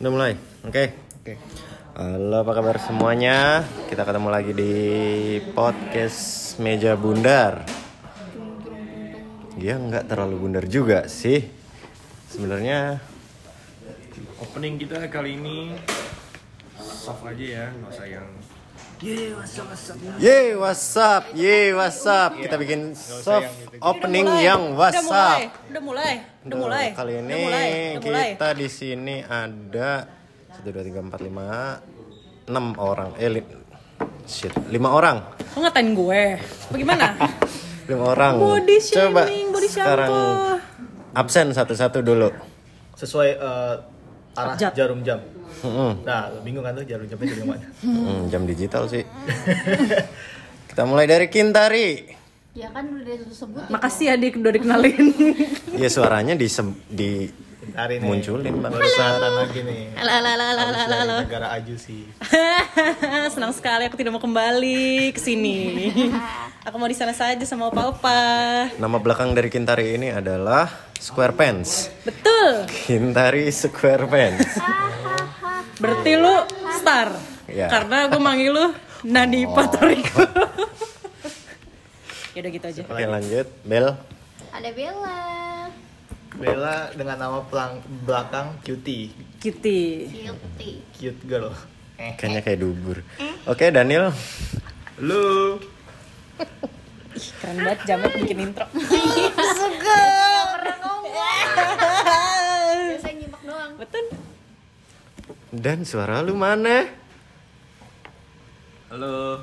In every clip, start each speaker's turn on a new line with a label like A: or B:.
A: Udah mulai, oke.
B: Oke.
A: Halo, apa kabar semuanya? Kita ketemu lagi di podcast Meja Bundar. Dia nggak terlalu bundar juga sih. Sebenarnya
B: Opening kita kali ini soft aja ya, nggak usah yang Yeay, what's up, what's up?
A: Ye, what's up? Ye, what's up? Kita bikin soft opening yang
C: Udah
A: what's
C: mulai,
A: up.
C: udah mulai, udah mulai.
A: Duh, Kali ini
C: udah mulai, udah mulai.
A: kita di sini ada 1 2 3 4 5 6 orang. Eh, li- shit, 5 orang.
C: Lo ngatain gue. Bagaimana?
A: lima orang
C: Body shaming,
A: coba
C: body
A: sekarang
C: shampoo.
A: absen satu-satu dulu
B: Sesuai eh, arah
C: Jat.
B: jarum jam.
A: Mm-mm.
B: Nah, lu bingung kan tuh jarum jamnya dari mana?
A: Mm, jam digital sih kita mulai dari Kintari
D: Ya kan udah disebut ya.
C: Makasih ya Dik udah dikenalin.
A: ya suaranya di di
B: Hari ini
A: munculin Bang.
B: baru selatan lagi nih.
C: Halo, halo, halo, halo,
B: Habis
C: halo,
B: dari
C: halo.
B: negara aju sih.
C: Senang sekali aku tidak mau kembali ke sini. Aku mau di sana saja sama Opa Opa.
A: nama belakang dari Kintari ini adalah Squarepants
C: Betul.
A: Kintari Squarepants
C: Berarti lu star.
A: Iya.
C: Karena gue manggil lu Nani
A: Oh.
C: Patoriko. ya udah gitu aja.
A: oke lanjut Bel
D: Ada Bella.
B: Bella dengan nama pelang belakang cutie,
C: Kitty.
D: Guilty.
B: cute girl. Eh.
A: kayaknya kayak dubur oke Daniel
B: Lu
C: Ih, keren banget jamet bikin intro.
D: Pernah ngomong. Biasa nyimak doang.
C: Betul.
A: dan suara lu mana
B: Halo.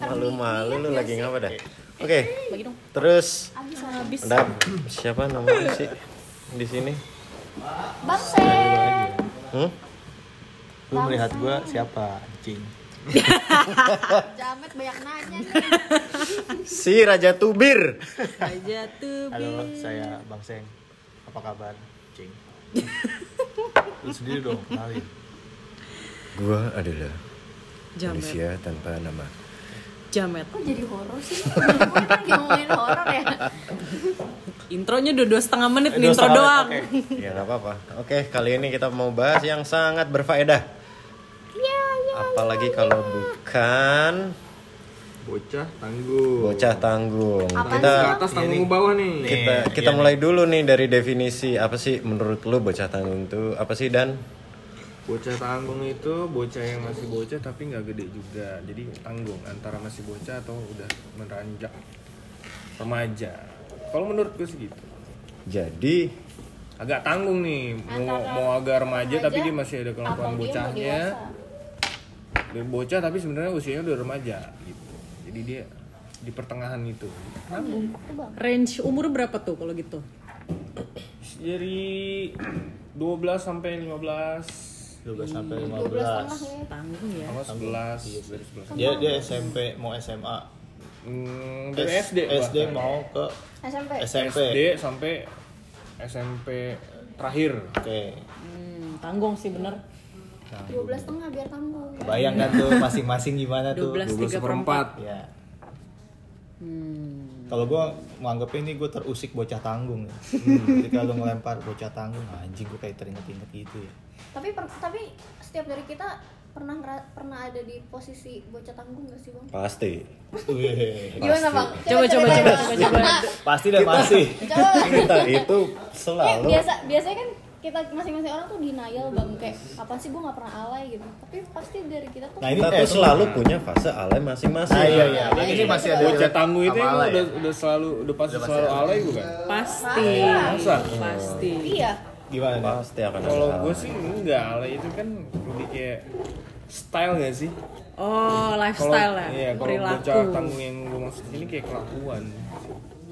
A: malu-malu lu lagi ngapa dah oke
C: Bagi dong.
A: terus
D: Abis sama
C: Habis.
A: ada siapa namanya sih di sini
D: Bangse.
A: hmm?
B: Lu melihat gua siapa? Anjing.
D: Jamet banyak nanya.
A: Si Raja Tubir.
C: Aja tuh.
B: Halo, saya Bang Seng. Apa kabar? Cing. Lu sendiri dong, kenalin.
A: Gua adalah
C: Jamet.
A: manusia tanpa nama.
C: Jamet.
D: Kok jadi horor sih? Gue lagi ngomongin horor ya.
C: Intronya udah dua setengah menit
B: Eh, dua
C: nih, intro
B: setengah menit,
C: doang.
B: oke.
A: Ya nggak apa-apa. Oke, kali ini kita mau bahas yang sangat
C: Ya,
A: berfaedah. Apalagi kalau bukan
E: Bocah tangguh.
A: bocah tanggung.
D: Apaan
A: Kita
D: sih,
E: Atas tanggung ke bawah nih.
A: kita
B: Nih,
A: kita
B: iya
A: mulai dulu nih dari definisi apa sih menurut lu bocah tanggung itu apa sih dan
E: Bocah tanggung itu bocah yang masih bocah tapi nggak gede juga. Jadi tanggung antara masih bocah atau udah meranjak remaja. Kalau menurut gue sih gitu.
A: jadi
E: Agak tanggung nih. Mau,
D: Antara
E: mau agak remaja, tapi
D: remaja
E: dia masih ada
D: Apa
E: kelakuan
D: dia mau
E: bocahnya.
D: dewasa?
E: Dia bocah tapi sebenarnya usianya udah remaja gitu. Jadi dia di pertengahan itu.
C: Range umur berapa tuh kalau gitu?
E: Dari 12 sampai 15
B: 12 sampai
D: 12 setengah
B: 15.
D: ya.
C: Tanggung ya.
E: sama 11 Iya, dari 11
B: Dia dia SMP mau SMA.
E: Hmm, dari
B: S-
E: SD,
B: SD
E: bahkan.
B: mau ke
D: SMP.
B: SMP.
E: SD sampai SMP terakhir.
B: Oke.
C: Hmm, tanggung sih bener.
D: 12 setengah biar tanggung.
B: Bayangkan kan tuh masing-masing gimana tuh.
C: 12 tiga perempat.
B: Ya.
C: Hmm.
B: Kalau gua menganggap ini gua terusik bocah tanggung. ya. Ketika lu ngelempar bocah tanggung, anjing gua kayak teringat-ingat gitu ya.
D: Tapi per- tapi setiap dari kita pernah ngera- pernah ada di posisi bocah tanggung gak sih bang?
A: pasti
B: Wih.
D: Gimana bang?
C: Coba coba coba
D: ceritain, Bang.
C: coba coba.
B: Pasti dan pasti.
D: Coba Bang.
A: kita itu
D: Kayak
A: selalu
D: biasa biasanya kan kita masing-masing orang tuh denial bang kayak apa sih gue nggak pernah alay gitu tapi pasti dari kita tuh
B: Nah, ini
A: kita
B: eh,
A: tuh selalu punya fase alay masing-masing.
B: Nah, iya iya. Jadi ini masih ada
E: Bocah tangguh itu yang
B: Sama alay ya?
E: udah, udah selalu udah pasti selalu alay bukan?
C: Pasti.
E: Masa?
C: Pasti.
D: iya
B: Gimana? nih?
A: Pasti akan ada
E: Kalau gue
A: alay.
E: sih enggak alay itu kan lebih kayak style gak sih?
C: Oh,
E: Kalau
C: lifestyle ya.
E: iya, kalau
C: perilaku.
E: bocah tanggung yang gue maksud ini kayak kelakuan.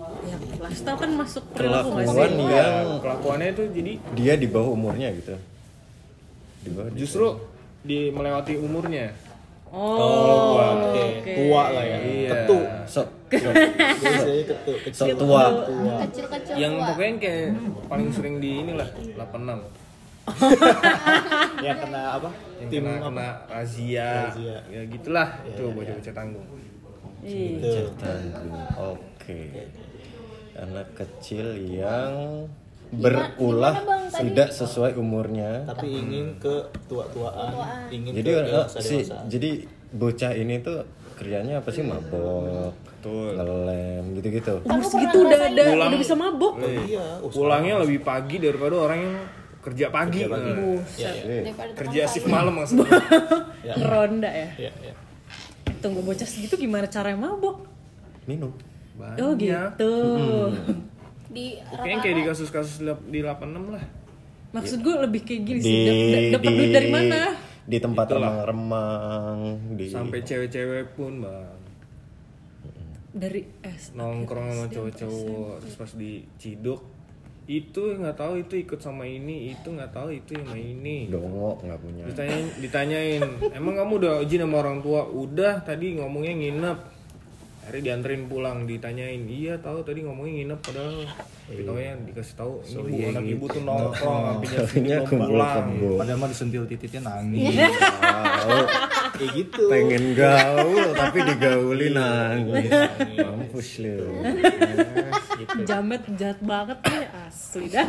C: Ya, lifestyle kan masuk perilaku nggak sih?
A: Kelakuan
E: Iya,
A: yang
E: kelakuannya itu jadi
A: dia di bawah umurnya gitu. Di bawah di
E: justru di melewati umurnya.
C: Oh,
B: Oke.
C: oke.
B: Tua lah ya. Iya,
E: Iya.
B: Ketu.
A: bawah. sok
B: Biasanya ketu. Ketu.
A: sok tua.
C: iya.
D: kecil-kecil
E: Yang
D: tua.
E: pokoknya kayak paling sering di inilah 86.
B: Yang kena apa?
E: yang
B: Tim
E: kena,
B: apa?
E: kena razia,
B: Razia. Iya,
E: ya gitulah itu bocah-bocah tanggung
C: Ih,
B: Gitu.
A: Tanggung. Oke. Anak kecil yang berulah
D: gimana, Bang, tadi?
A: sudah sesuai umurnya.
B: tapi ingin ke tua-tuaan,
D: Tua-tuaan.
B: ingin
A: Jadi
B: ke
A: eh,
B: dewasa
A: si
B: dewasa.
A: jadi bocah ini tuh kerjanya apa sih mabok, ngelem gitu-gitu.
C: Umur
D: Aku
C: segitu udah
D: pernah ngerasain.
C: ada,
E: Pulang.
C: udah bisa mabok.
B: Iya, oh,
E: Pulangnya lebih pagi daripada orang yang kerja pagi. Nah, Kerja,
B: Iya, iya,
D: Daripada tukang
E: shift
D: kayu.
E: malam maksudnya.
B: iya,
C: Ronda ya.
B: iya, iya.
C: Tunggu bocah segitu gimana cara yang mabok?
A: Minum.
E: Iya.
C: Oh gitu.
D: di
E: Kayaknya kayak di kasus-kasus lap- di 86 lah.
C: Maksud gue lebih kayak gini sih. Dapat duit dari mana?
A: Di tempat remang-remang di
B: Iya.
E: Sampai cewek-cewek pun, Bang.
C: Dari es.
E: nongkrong sama cowok-cowok terus pas diciduk itu nggak tahu itu ikut sama ini itu nggak tahu itu sama ini
A: dongo nggak punya.
E: ditanyain ditanyain emang kamu udah izin sama orang tua udah tadi ngomongnya nginep hari dianterin pulang ditanyain iya tahu tadi ngomongnya nginep padahal tapi taunya dikasih tahu ini bu anak ibu tuh nongkrong apinya
A: Akhirnya kumpul-kumpul.
B: Padahal mah disentil titiknya nangis. Kayak gitu.
A: Pengen gaul tapi digaulin nangis. Mampus lu.
C: Ah, Jamet jahat banget nih asli dah.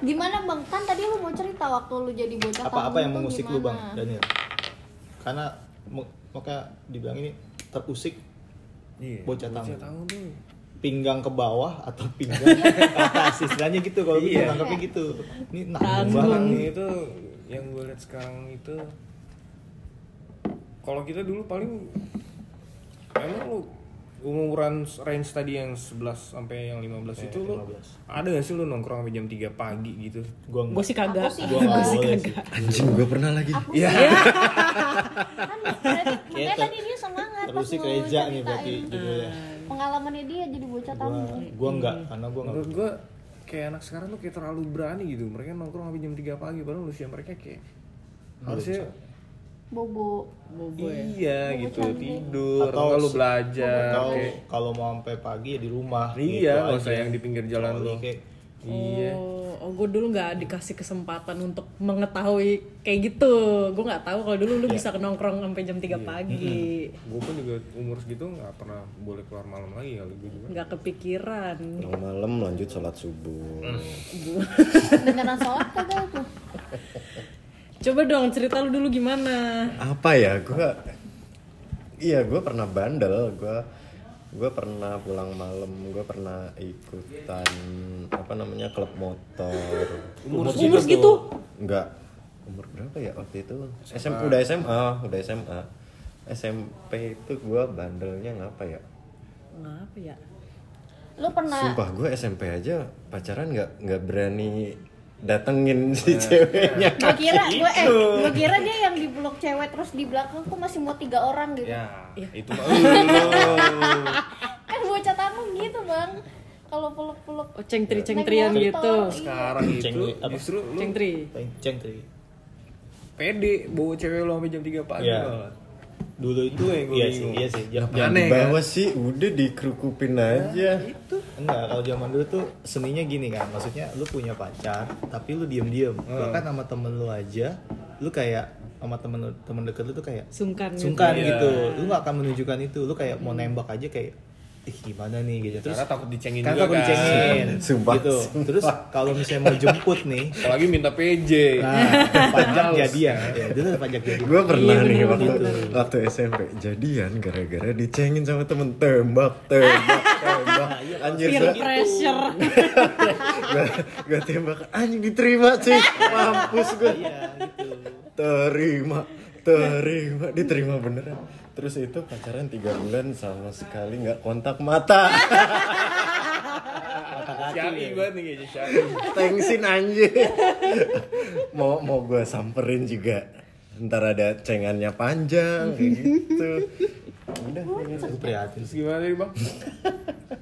D: gimana bang kan tadi lu mau cerita waktu lu jadi bocah
B: Apa-apa
D: kamu
B: yang
D: tuh
B: mengusik lu bang
D: gitu gimana?
B: Daniel? Karena mu- makanya dibilang ini terusik
E: Iya,
B: Bocah tangguh.
E: tangguh tuh
B: pinggang ke bawah atau pinggang ke atas istilahnya gitu kalau gue
E: Iya.
B: nangkepnya gitu ini nanggung banget
E: Barang itu yang gue lihat sekarang itu kalau kita dulu paling emang lu umuran range tadi yang 11 sampai yang 15
B: Iya,
E: itu lu
B: 15.
E: ada gak sih lu nongkrong sampai jam 3 pagi gitu
B: gua
C: Gue
B: enggak
C: sih kagak.
D: sih
B: gua nggak boleh sih
A: Anjing gue pernah lagi.
D: kan berarti- makanya
B: Kayak
D: tadi dia semangat pas
B: terusik
D: lu
B: reja nih
D: ceritain
B: berarti judulnya
D: Iya. pengalamannya dia jadi bocah
B: gua
D: tangguh
B: gua enggak karena gua enggak
E: menurut gue kayak anak sekarang tuh kayak terlalu berani gitu mereka nongkrong sampai jam 3 pagi padahal usia mereka kayak harusnya
D: bobo
E: iya gitu tidur
B: Atau
E: atau lu
B: se-
E: belajar
B: kalau
E: kayak
B: kalau mau sampai pagi ya di rumah
E: eh, iya
B: gitu
E: nggak usah
B: aja.
E: yang di pinggir jalan
B: Kecuali
E: lu
B: kayak
E: iya
C: Oh, oh gue dulu nggak dikasih kesempatan untuk mengetahui kayak gitu. Gue nggak tahu kalau dulu lu bisa nongkrong sampai jam 3 pagi.
E: gue pun juga umur segitu nggak pernah boleh keluar malam lagi kali gue juga
C: Nggak kepikiran.
A: Pulang malam lanjut sholat subuh.
D: beneran sholat kan? kagak tuh
C: Coba dong cerita lu dulu gimana.
A: apa ya gue iya gue pernah bandel gue gue pernah pulang malam gue pernah ikutan apa namanya klub motor
C: Umur, segitu?
A: enggak umur berapa ya waktu itu SM, udah SMA udah SMA SMP itu gue bandelnya ngapa ya
C: Ngapa ya?
D: lu pernah
A: sumpah gue SMP aja pacaran nggak nggak berani datengin si ceweknya
D: gue kira gue eh
B: Gitu.
D: gue kira dia yang di blok cewek terus di belakang tuh masih mau tiga orang gitu
E: ya itu mah
D: kan bocah tangguh gitu bang kalau peluk-peluk
C: Oh, ceng-tri-ceng-trian
D: Naik
C: gitu.
D: motor. iya,
E: sekarang
B: Ceng,
E: itu
B: apa?
E: justru lu
C: Ceng-tri.
B: ceng- ceng tadi
E: pede bawa cewek lu sampai jam 3 pagi
B: Iya.
E: malah.
B: dulu itu
E: Itu yang gua
B: iya sih
E: bingung.
B: iya sih Ja-
A: Jangan
E: Aneh,
A: dibawa sih, udah dikerukupin aja.
B: Enggak, kalau zaman dulu tuh seninya gini kan, maksudnya lu punya pacar, tapi lu diem-diem,
E: Hmm.
B: bahkan sama temen lu aja, lu kayak sama temen lu- temen deket lu tuh kayak
C: Sungkan. gitu.
B: sungkan
E: Iya.
B: gitu, lu gak akan menunjukkan itu, lu kayak mau nembak aja kayak, ih gimana nih gitu, terus
E: karena takut dicengin
B: kan
E: juga
B: aku
E: kan
B: dicengin,
A: Sumpah,
B: gitu,
A: sumpah.
B: terus kalau misalnya mau jemput nih,
E: apalagi minta PJ
B: nah, pajak jadian, ya dulu ada pajak jadian,
A: gue pernah
C: Iya,
A: nih
C: bener,
A: waktu
C: bener,
A: waktu SMP jadian gara-gara dicengin sama temen tembak tembak tembak anjir
C: Peer
A: gue
C: pressure.
A: gue tembak anjing diterima sih mampus gue
B: iya gitu,
A: terima terima diterima beneran terus itu pacaran tiga bulan sama sekali nggak kontak mata
E: syari banget nih kayaknya syari
A: tengsin anjir mau mau gue samperin juga ntar ada cengannya panjang kayak gitu udah
B: aku prihatin
E: terus gimana nih bang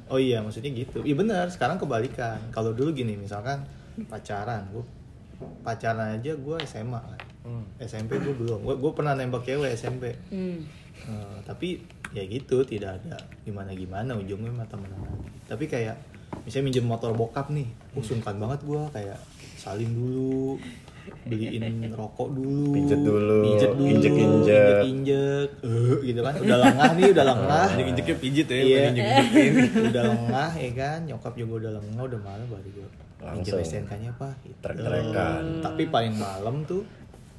B: Oh iya, maksudnya gitu. Iya benar, sekarang kebalikan. Kalau dulu gini, misalkan pacaran, gue pacaran aja gue SMA kan. SMP gue belum. Gue pernah nembak cewek SMP.
C: Hmm.
B: Eh, tapi ya gitu, tidak ada gimana gimana ujungnya mah temenan. Tapi kayak misalnya minjem motor bokap nih, gue sungkan banget gue kayak salim dulu. beliin rokok dulu
A: Pijet dulu,
B: pijet dulu
A: injek-injek.
B: injek gitu kan udah lengah nih udah lengah
E: Injek-injeknya pijit ya,
B: Iya.
E: bukan injek-injekin.
B: udah lengah ya kan nyokap juga udah lengah udah malam baru gue pinjam
A: Langsung.
B: STNK nya apa gitu.
A: Trek-trekan.
B: tapi paling malam tuh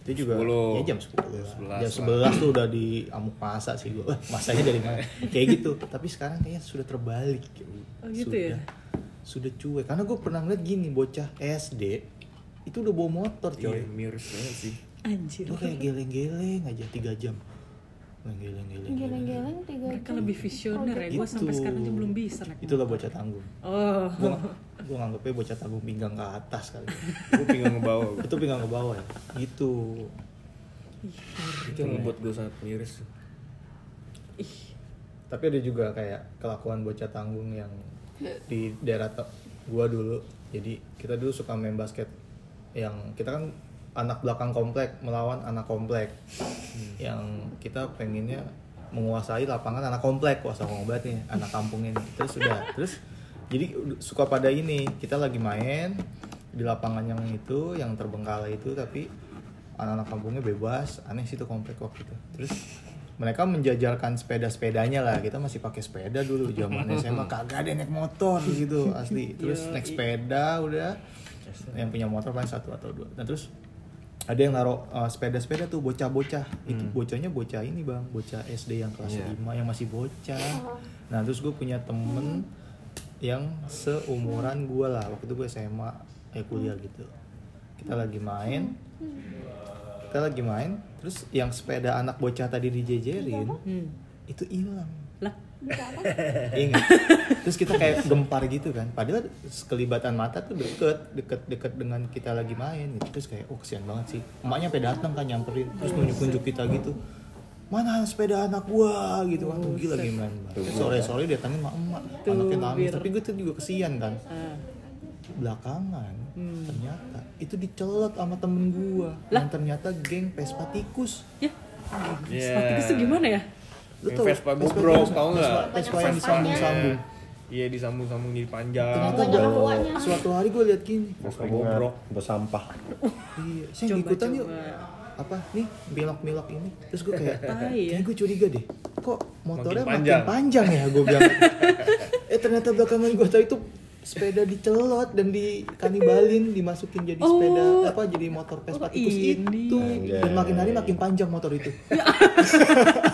B: itu juga
E: 10.
B: ya jam 10
E: 11
B: jam 11 tuh udah di amuk masa sih gue masanya dari mana kayak gitu tapi sekarang kayaknya sudah terbalik
C: Oh, gitu
B: sudah,
C: ya?
B: sudah cuek karena gue pernah ngeliat gini bocah SD itu udah bawa motor
E: Iya,
B: coy
E: miris banget sih.
C: Anjir.
B: itu kayak geleng-geleng aja 3 jam geleng-geleng
D: geleng-geleng tiga
C: Mereka Kan lebih visioner ya. Gue
B: Gitu.
C: sampai sekarang aja belum bisa naik.
B: itulah bocah tanggung
C: Oh.
B: gua gua nganggepnya bocah tabung pinggang ke atas kali ya.
E: Gue pinggang ngebawa. gua.
B: itu pinggang ke bawah ya gitu
E: Itu yang membuat gue sangat miris.
B: tapi ada juga kayak kelakuan bocah tanggung yang di daerah te- gua dulu jadi kita dulu suka main basket yang kita kan anak belakang komplek melawan anak komplek yang kita pengennya menguasai lapangan anak komplek kuasa ngobat nih anak kampung ini terus sudah terus jadi suka pada ini kita lagi main di lapangan yang itu yang terbengkalai itu tapi anak-anak kampungnya bebas aneh sih tuh komplek waktu itu terus mereka menjajarkan sepeda-sepedanya lah kita masih pakai sepeda dulu zamannya saya mah kagak ada yang naik motor gitu asli terus naik sepeda udah yang punya motor paling satu atau dua nah terus ada yang naruh uh, sepeda-sepeda tuh bocah-bocah itu bocahnya bocah ini bang bocah SD yang kelas 5 yang masih bocah nah terus gue punya temen yang seumuran gue lah waktu itu gue SMA eh kuliah gitu kita lagi main kita lagi main terus yang sepeda anak bocah tadi dijejerin
C: Hmm.
B: itu hilang
C: Lah,
B: ingat terus kita kayak gempar gitu kan padahal sekelibatan mata tuh deket deket deket dengan kita lagi main gitu. terus kayak oh kesian banget sih emaknya sampai datang kan nyamperin terus nunjuk nunjuk kita gitu mana sepeda anak gua gitu kan gila lagi main sore sore datangin sama emak anaknya nangis
C: biar-
B: tapi gue tuh juga kesian kan
C: ah.
B: belakangan ternyata itu dicelot sama temen gua yang ternyata geng Vespa tikus
C: ya.
E: Iya.
C: Sepatu itu gimana ya?
B: lu
E: Yang
B: tau
E: Vespa
B: Vespa
E: Gobrok,
B: tikus
E: tau
B: nggak?
E: nggak?
B: Vespa- Vespa yang
D: Banyak
B: disambung-sambung
E: Iya disambung-sambung jadi panjang.
B: ternyata
D: Banyak
B: gua-
D: akuanya.
B: suatu hari gue liat gini
E: Vespa bobrok.
A: bos sampah
B: iya saya ikutan yuk apa nih belok-belok ini terus gue kayak
C: Tai ya.
B: kayak gue curiga deh kok motornya
E: Makin
B: makin panjang,
E: panjang.
B: ya gue bilang eh ternyata belakangan gue tahu itu sepeda dicelot dan dikanibalin dimasukin jadi sepeda
C: Oh.
B: apa jadi motor Vespa
C: Oh,
B: tikus
C: ini.
B: itu dan makin hari makin panjang motor itu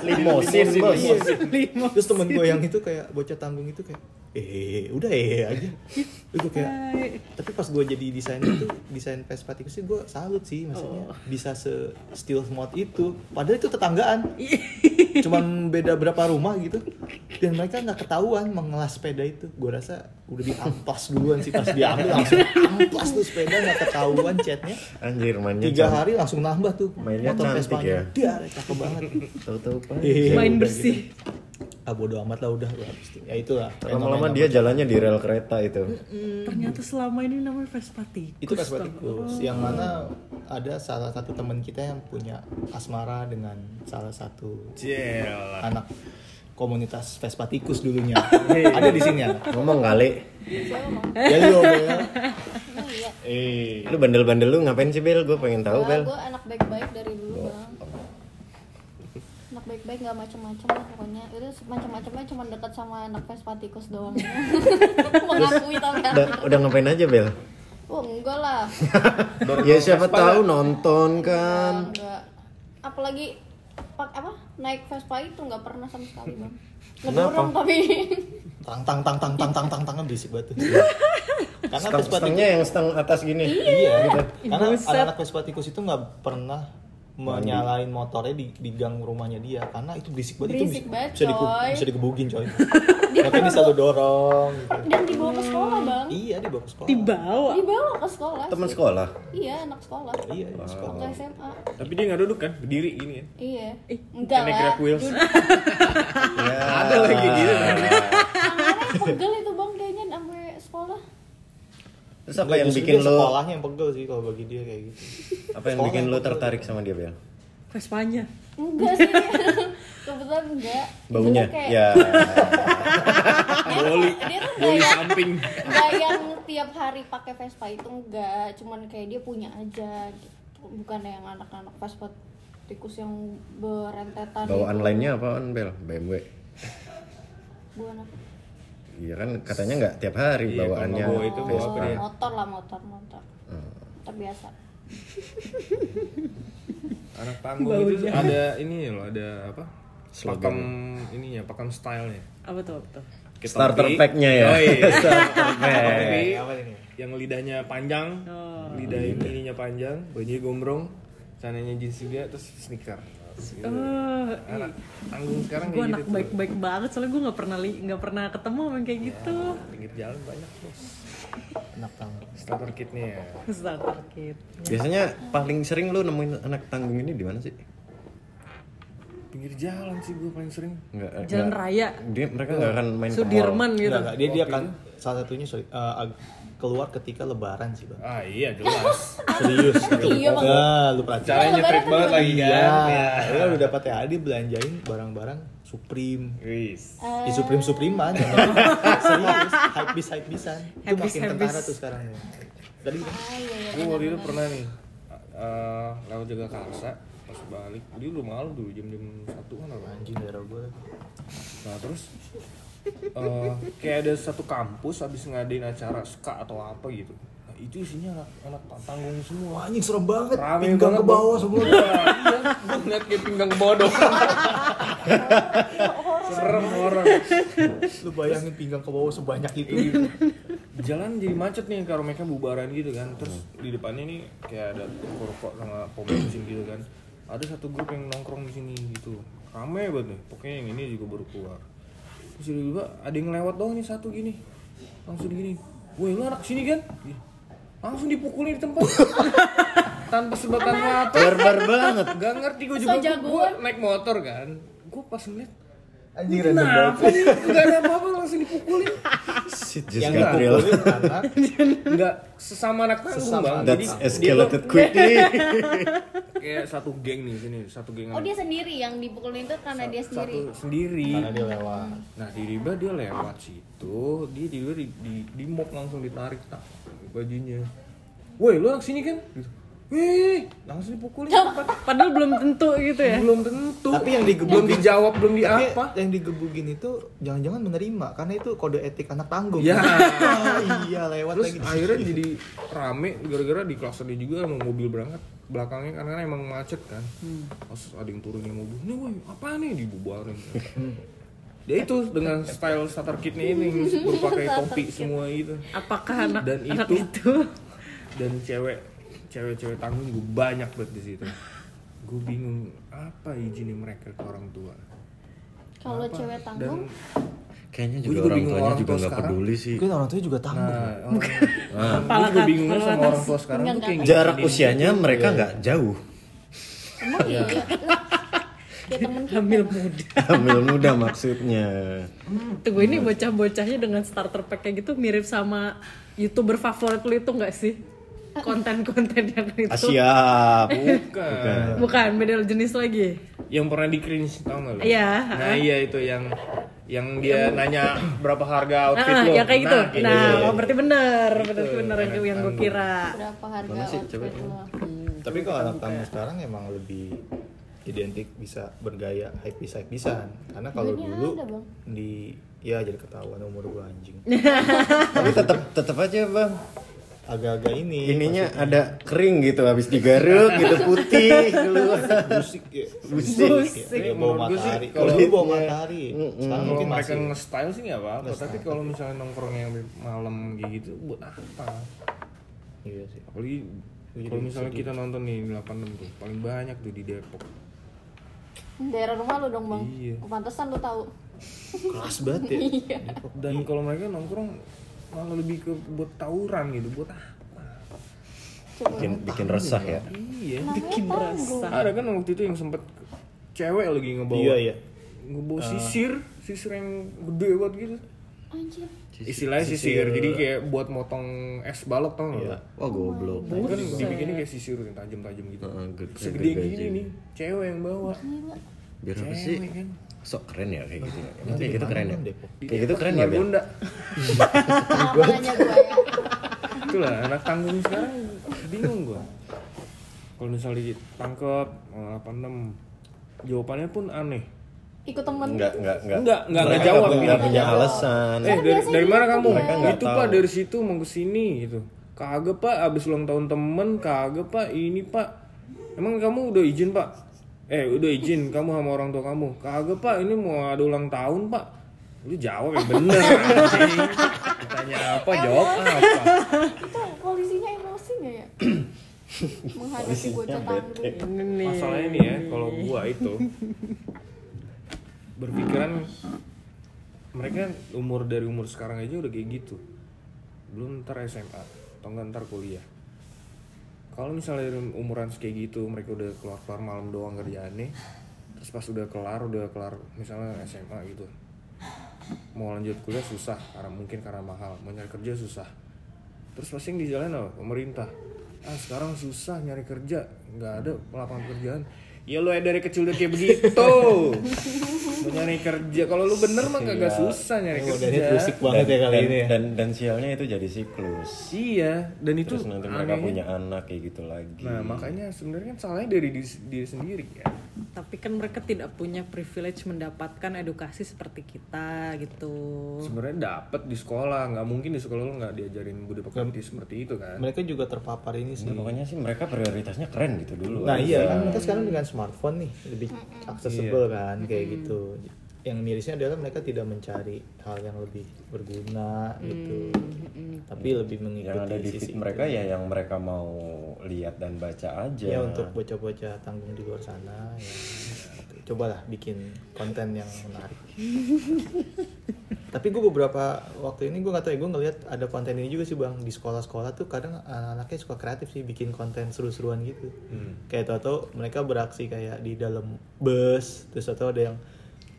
A: limosin bos
B: Iya. terus temen gue yang itu kayak bocah tanggung itu kayak eh udah eh aja Terus gue kayak
C: Hai.
B: tapi pas gue jadi desainer tuh desain Vespa tikus sih gue salut sih maksudnya bisa se steel mod itu padahal itu tetanggaan cuman beda berapa rumah gitu dan mereka nggak ketahuan mengelas sepeda itu gue rasa udah diampas duluan sih pas diambil langsung ampas tuh sepeda nggak ketahuan catnya
A: anjir mainnya
B: tiga
A: cantik.
B: hari langsung nambah tuh
A: Mainnya
B: motor
A: cantik
B: Vespanya
A: ya.
B: dia cakep banget
A: tahu-tahu apa
B: Iya,
C: Main
B: udah
C: bersih.
B: gitu. ah bodo amat lah udah ya, habis itu. ya itulah
A: lama-lama
B: fenomena
A: dia
B: bocah.
A: jalannya di rel kereta itu
C: Hmm. Ternyata selama ini namanya Vespa tikus.
B: itu Vespa
C: tau.
B: tikus yang mana ada salah satu teman kita yang punya asmara dengan salah satu
E: Ciel.
B: anak komunitas Vespa tikus dulunya ada di sini anak
A: ngomong kali
B: ya lu ya.
D: Nah, iya.
A: eh lu bandel-bandel lu ngapain sih Bel gue pengen tahu Bel Oh.
D: gue anak baik-baik dari dulu bang anak baik-baik nggak macem-macem lah pokoknya itu macem-macemnya cuma dekat sama anak Vespa tikus doang mengakui tapi
A: udah, udah ngapain aja Bel
D: oh enggak lah
A: ya siapa tahu nonton kan
D: enggak apalagi pak apa naik Vespa itu nggak pernah sama sekali bang
A: Kenapa?
D: ngedorong tapi
B: tang tang tang tang tang tang tang tang berisik banget tuh. karena
A: Seteng-
B: Vespa tikus
A: setengahnya yang seteng atas gini
B: iya
A: gitu
B: karena
C: Buset.
B: anak Vespa tikus itu nggak pernah menyalain motornya di, di gang rumahnya dia karena itu berisik banget
D: Berisik
B: itu bisa,
D: banget,
B: bisa, diku-
D: coy. kan
B: bisa digebukin coy makanya ini selalu dorong gitu.
D: dan dibawa ke sekolah
A: Hmm.
D: bang
B: iya dibawa ke sekolah
A: Iya.
C: Dibawa.
D: dibawa ke sekolah
A: teman sekolah
D: iya anak sekolah
B: iya di sekolah
D: waktu SMA
E: Tapi dia nggak duduk kan, berdiri gini kan.
D: iya enggak
E: Kayak naik
D: lah
E: Grab Wheels.
A: ya.
E: Ada lagi gitu.
D: Tangannya pegel itu bang kayaknya sampai sekolah
A: terus apa
E: Iya,
B: Enggak,
A: yang
B: justru
A: bikin
B: dia
A: lu
B: sekolahnya yang pegel sih kalau bagi dia kayak gitu
A: apa yang
B: Sekolah
A: bikin
B: yang
A: lu
B: pegel.
A: tertarik sama dia Bel
C: Vespanya.
D: enggak sih kebetulan enggak
A: baunya
D: Dulu kayak,
A: ya
E: Boli.
D: dia tuh
E: Boli
D: kayak
E: samping.
D: enggak yang tiap hari pakai Vespa itu enggak cuman kayak dia punya aja gitu bukan yang anak-anak paspor tikus yang berentetan gitu.
A: Bawaan
D: itu.
A: lainnya apaan Bel? BMW.
D: Bukan apa?
A: Iya kan katanya nggak tiap hari
E: Iya, kalau
A: bawaannya.
E: bawa itu bawa apa
A: Vespa.
E: dia?
D: motor lah motor motor terbiasa
E: anak panggung
C: Bau
E: itu
C: jahat.
E: ada ini ya loh ada apa
A: Slogan.
E: pakem ininya pakem stylenya
C: apa tuh apa tuh
E: Kita
A: Starter
E: beli-
A: pack-nya ya.
E: oh, iya.
A: Starter pack.
E: Tapi
B: apa ini? ya?
E: yang lidahnya panjang
C: Oh.
E: lidah ininya panjang bajunya gombrong sananya jeans juga terus sneaker Gitu.
C: Oh,
E: anak panggung sekarang
C: gue
E: kayak
C: anak
E: gitu tuh.
C: baik-baik banget soalnya gue nggak pernah li- nggak pernah ketemu sama yang kayak gitu
E: pinggir jalan banyak bos
B: Enak banget.
E: starter kitnya ya
C: starter kit
A: Biasanya paling sering lu nemuin anak tanggung ini di mana sih?
E: pinggir jalan sih gue paling sering
A: Nggak,
C: jalan
A: nggak-
C: raya
A: Dia, mereka nggak akan main ke mall.
C: Sudirman gitu
B: Enggak, enggak. Dia, dia akan salah satunya sorry, eh, ag- keluar ketika lebaran sih bang.
E: ah iya jelas
B: Serius. itu.
D: Iya, Bang.
B: Ah, lu perhatiin.
E: caranya nyetrik banget lagi
B: Iya.
E: kan
B: Lu udah dapat ya, dia belanjain barang-barang Supreme.
E: Wis.
D: Oh,
B: Di Supreme Supreman. Serius, hype bis hype bisan. Itu
C: Hypebeast,
B: makin tentara
C: hypebeast.
B: tuh sekarang. ya. Tadi
D: Ah, iya, iya,
E: gue waktu itu
D: benar-benar.
E: pernah nih eh, lewat jaga karsa pas balik dia udah malu dulu jam jam satu kan apa
B: anjing daerah gue.
E: Nah terus eh, kayak ada satu kampus habis ngadain acara ska atau apa gitu. Nah, itu isinya anak, anak tanggung semua.
B: Wah, anjing serem banget.
E: Rame
B: Pinggang
E: banget,
B: ke bawah
E: Bang.
B: semua.
E: Iya, gua ngeliat kayak pinggang ke bawah doang. Serem orang.
B: Lu bayangin pinggang ke bawah sebanyak itu.
E: Jalan jadi macet nih karena mereka bubaran gitu kan. Terus di depannya nih kayak ada rokok sama pom bensin gitu kan. Ada satu grup yang nongkrong di sini gitu. Rame banget nih. Pokoknya yang ini juga baru keluar. Terus tiba-tiba ada yang lewat doang nih satu gini. Langsung gini. Woi, lu anak sini kan? Ih, Langsung dipukulin di tempat. Tanpa sebab tanpa apa.
A: Barbar banget.
E: Gak ngerti gue juga.
D: So
E: Gua- Gua
D: jagoan.
E: naik motor kan. Gue pas ngeliat
B: Anjing random banget.
E: Kenapa nih? Gak ada apa-apa langsung dipukulin
A: Shit, just
B: Yang
A: got real.
B: dipukulin anak
E: Nggak sesama anak tanggung
B: Sesama
E: bang
B: anak
A: That's
E: Jadi dia tuh
A: escalated quickly.
E: kayak satu geng nih sini Satu geng
D: oh dia sendiri yang dipukulin itu karena dia
E: Satu
D: sendiri
E: sendiri
B: karena dia lewat.
E: Nah tiba-tiba dia lewat situ Dia tiba di, di, di mop langsung ditarik tak, bajunya Woi lu anak sini kan? Gitu. Wih langsung dipukulin tempat
C: padahal belum tentu gitu ya
E: Belum tentu
B: Tapi yang digebuk-
E: Belum dijawab, belum di
B: Tapi
E: apa
B: yang digebugin itu jangan-jangan menerima karena itu kode etik anak tanggung.
E: Ya.
B: Ah, iya lewat
E: Terus
B: lagi.
E: akhirnya jadi rame gara-gara di klaster dia juga mau mobil berangkat belakangnya karena kan emang macet kan. Pas ada yang turunin mobil, nih woi apa nih dibubarin. Dia itu dengan style starter kitnya ini berpakai topi semua itu
C: apakah anak
E: Dan
C: anak
E: itu-
C: itu
E: dan cewek cewek-cewek tanggung juga banyak banget di situ. Gue bingung apa izinnya mereka ke orang tua.
D: kalau
E: Apa?
D: cewek
E: Dan-
D: tanggung
A: Kayaknya
E: Gua
A: juga,
E: juga
A: orang
E: bingung
A: tuanya
E: orang
A: juga
E: tua
A: nggak
E: sekarang.
A: peduli sih.
B: Mungkin orang tuanya juga tanggung.
E: Nah, orang, gue juga
C: Pala
E: bingung
C: atas,
E: sama
C: pala
E: orang tua sekarang tuh kayak
A: Jarak
E: ngizinin-
A: usianya mereka nggak jauh.
D: emang iya ya temen kita
C: hamil muda
A: Hamil muda maksudnya.
C: tuh gue ini bocah-bocahnya dengan starter pack kayak gitu mirip sama youtuber favorit lu itu nggak sih konten-konten yang itu
A: Asyap.
E: Bukan.
C: bukan beda jenis lagi
E: yang pernah di cringe tau gak lu?
C: Iya,
E: Nah
C: heeh.
E: iya itu yang yang dia nanya berapa harga outfit
C: ah
E: lo.
C: ya kayak gitu
E: kayak
C: nah
E: gitu.
C: oh, berarti bener berarti bener yang, yang gue kira
D: berapa harga outfit lo
B: Tapi kalau anak tanggung sekarang emang lebih identik bisa bergaya hype bisa hype bisa karena kalau
D: Duitnya
B: dulu
D: ada, Bang.
B: di ya jadi ketahuan umur gua anjing
A: Tapi tetap tetap aja bang.
B: agak-agak
E: Iya,
B: ini
A: Ininya ada kering gitu habis digaruk gitu putih keluar.
B: busik ya
A: Busik.
B: ya, bawa
E: Menurut gua sih,
B: matahari
E: kalau-
B: kalau dulu bawa matahari sekarang
E: Kalau
B: mungkin
E: mereka
B: masih
E: nge-style sih gak apa-apa, tapi kalau misalnya nongkrongnya malam kayak gitu buat apa?
B: iya sih
E: Apalagi kalau misalnya kita nonton nih 86 tuh paling banyak tuh di Depok.
D: daerah rumah lu dong bang
E: Iya.
D: pantesan lu tahu
B: keras banget ya
E: Dan
C: Iya.
E: kalau mereka nongkrong malah lebih ke buat tawuran gitu, buat apa?
D: coba
A: Bikin, bikin resah ya.
E: Iya.
C: bikin berasa
E: Ada kan waktu itu yang sempet cewek lagi ngebawa
B: iya iya
E: ngebawa sisir, sisir yang gede banget gitu.
D: anjir
E: Istilahnya sisir, jadi kayak buat motong es balok tau nggak?
B: Iya.
A: Wah goblok.
E: Itu kan dibikinnya kayak sisir yang tajam-tajam gitu.
A: Heeh, gitu. gede-
E: Segede
A: gede
E: gini
A: gini.
E: nih, cewek yang bawa.
D: gila
A: Biar apa sih?
E: Cewek kan.
A: Sok keren ya kayak gitu. ya. Emang kayak gitu keren ya.
B: Depok.
A: Kayak gitu keren ya. Bel?
E: Margonda.
D: kenapa nanya gue ya
E: Itulah anak tanggung sekarang bingung gua. kalau misalnya ditangkep eh, 86 jawabannya pun aneh
D: ikut temen gitu
A: Enggak, enggak, enggak.
E: Enggak, enggak, ya. enggak
A: Mereka
E: jawab,
A: Enggak
E: Mila.
A: punya
D: Enggak
A: alasan.
E: eh dari, dari mana kamu
A: Kan gitu. Mereka nggak
E: itu
A: tahu.
E: pak dari situ mau ke sini gitu kagak pak abis ulang tahun temen kagak pak ini pak emang kamu udah izin pak eh udah izin kamu sama orang tua kamu kagak pak ini mau ada ulang tahun pak lu jawab yang bener anjing. tanya apa jawab Ah, apa
D: itu polisinya emosi nggak ya menghadapi gitu
A: Polisinya
D: bocah
A: bete.
D: tangguh
E: masalahnya nih ya kalau gua itu berpikiran mereka umur dari umur sekarang aja udah kayak gitu belum ntar SMA atau nggak ntar kuliah kalau misalnya dari umuran kayak gitu mereka udah keluar keluar malam doang kerjaannya terus pas udah kelar udah kelar misalnya SMA gitu mau lanjut kuliah susah karena mungkin karena mahal mau nyari kerja susah terus pasti yang di jalan apa pemerintah ah sekarang susah nyari kerja nggak ada lapangan kerjaan ya lu dari kecil udah kayak begitu mau nyari kerja kalau lu bener mah kagak
A: Iya.
E: susah nyari
B: Emang
E: kerja
B: udah ini rusik banget
A: Dan,
B: ya kali
A: dan,
B: ini ya.
A: dan, dan sialnya itu jadi siklus.
E: iya dan itu
A: Terus nanti mereka
E: anehnya-
A: punya anak kayak gitu lagi.
E: nah makanya sebenarnya kan salahnya dari diri, diri sendiri ya
C: Tapi kan mereka tidak punya privilege mendapatkan edukasi seperti kita gitu.
E: sebenarnya dapat di sekolah nggak mungkin di sekolah lu nggak diajarin budi pekerti seperti itu kan
B: Mereka juga terpapar ini sih.
A: Ya, pokoknya sih mereka prioritasnya keren gitu dulu.
B: Nah
A: aja.
B: Hmm. iya kan mereka sekarang dengan smartphone nih lebih accessible kan kayak gitu. Yang mirisnya adalah mereka tidak mencari hal yang lebih berguna gitu, tapi lebih mengikuti
A: yang ada di
B: sisi
A: feed mereka ya yang mereka mau lihat dan baca aja.
B: ya untuk bocah-bocah tanggung di luar sana. Ya. gitu. Cobalah bikin konten yang menarik. tapi gue beberapa waktu ini gue nggak tahu ya gue ngelihat ada konten ini juga sih bang di sekolah-sekolah tuh kadang anak-anaknya suka kreatif sih bikin konten seru-seruan gitu kayak tau mereka beraksi kayak di dalam bus terus atau ada yang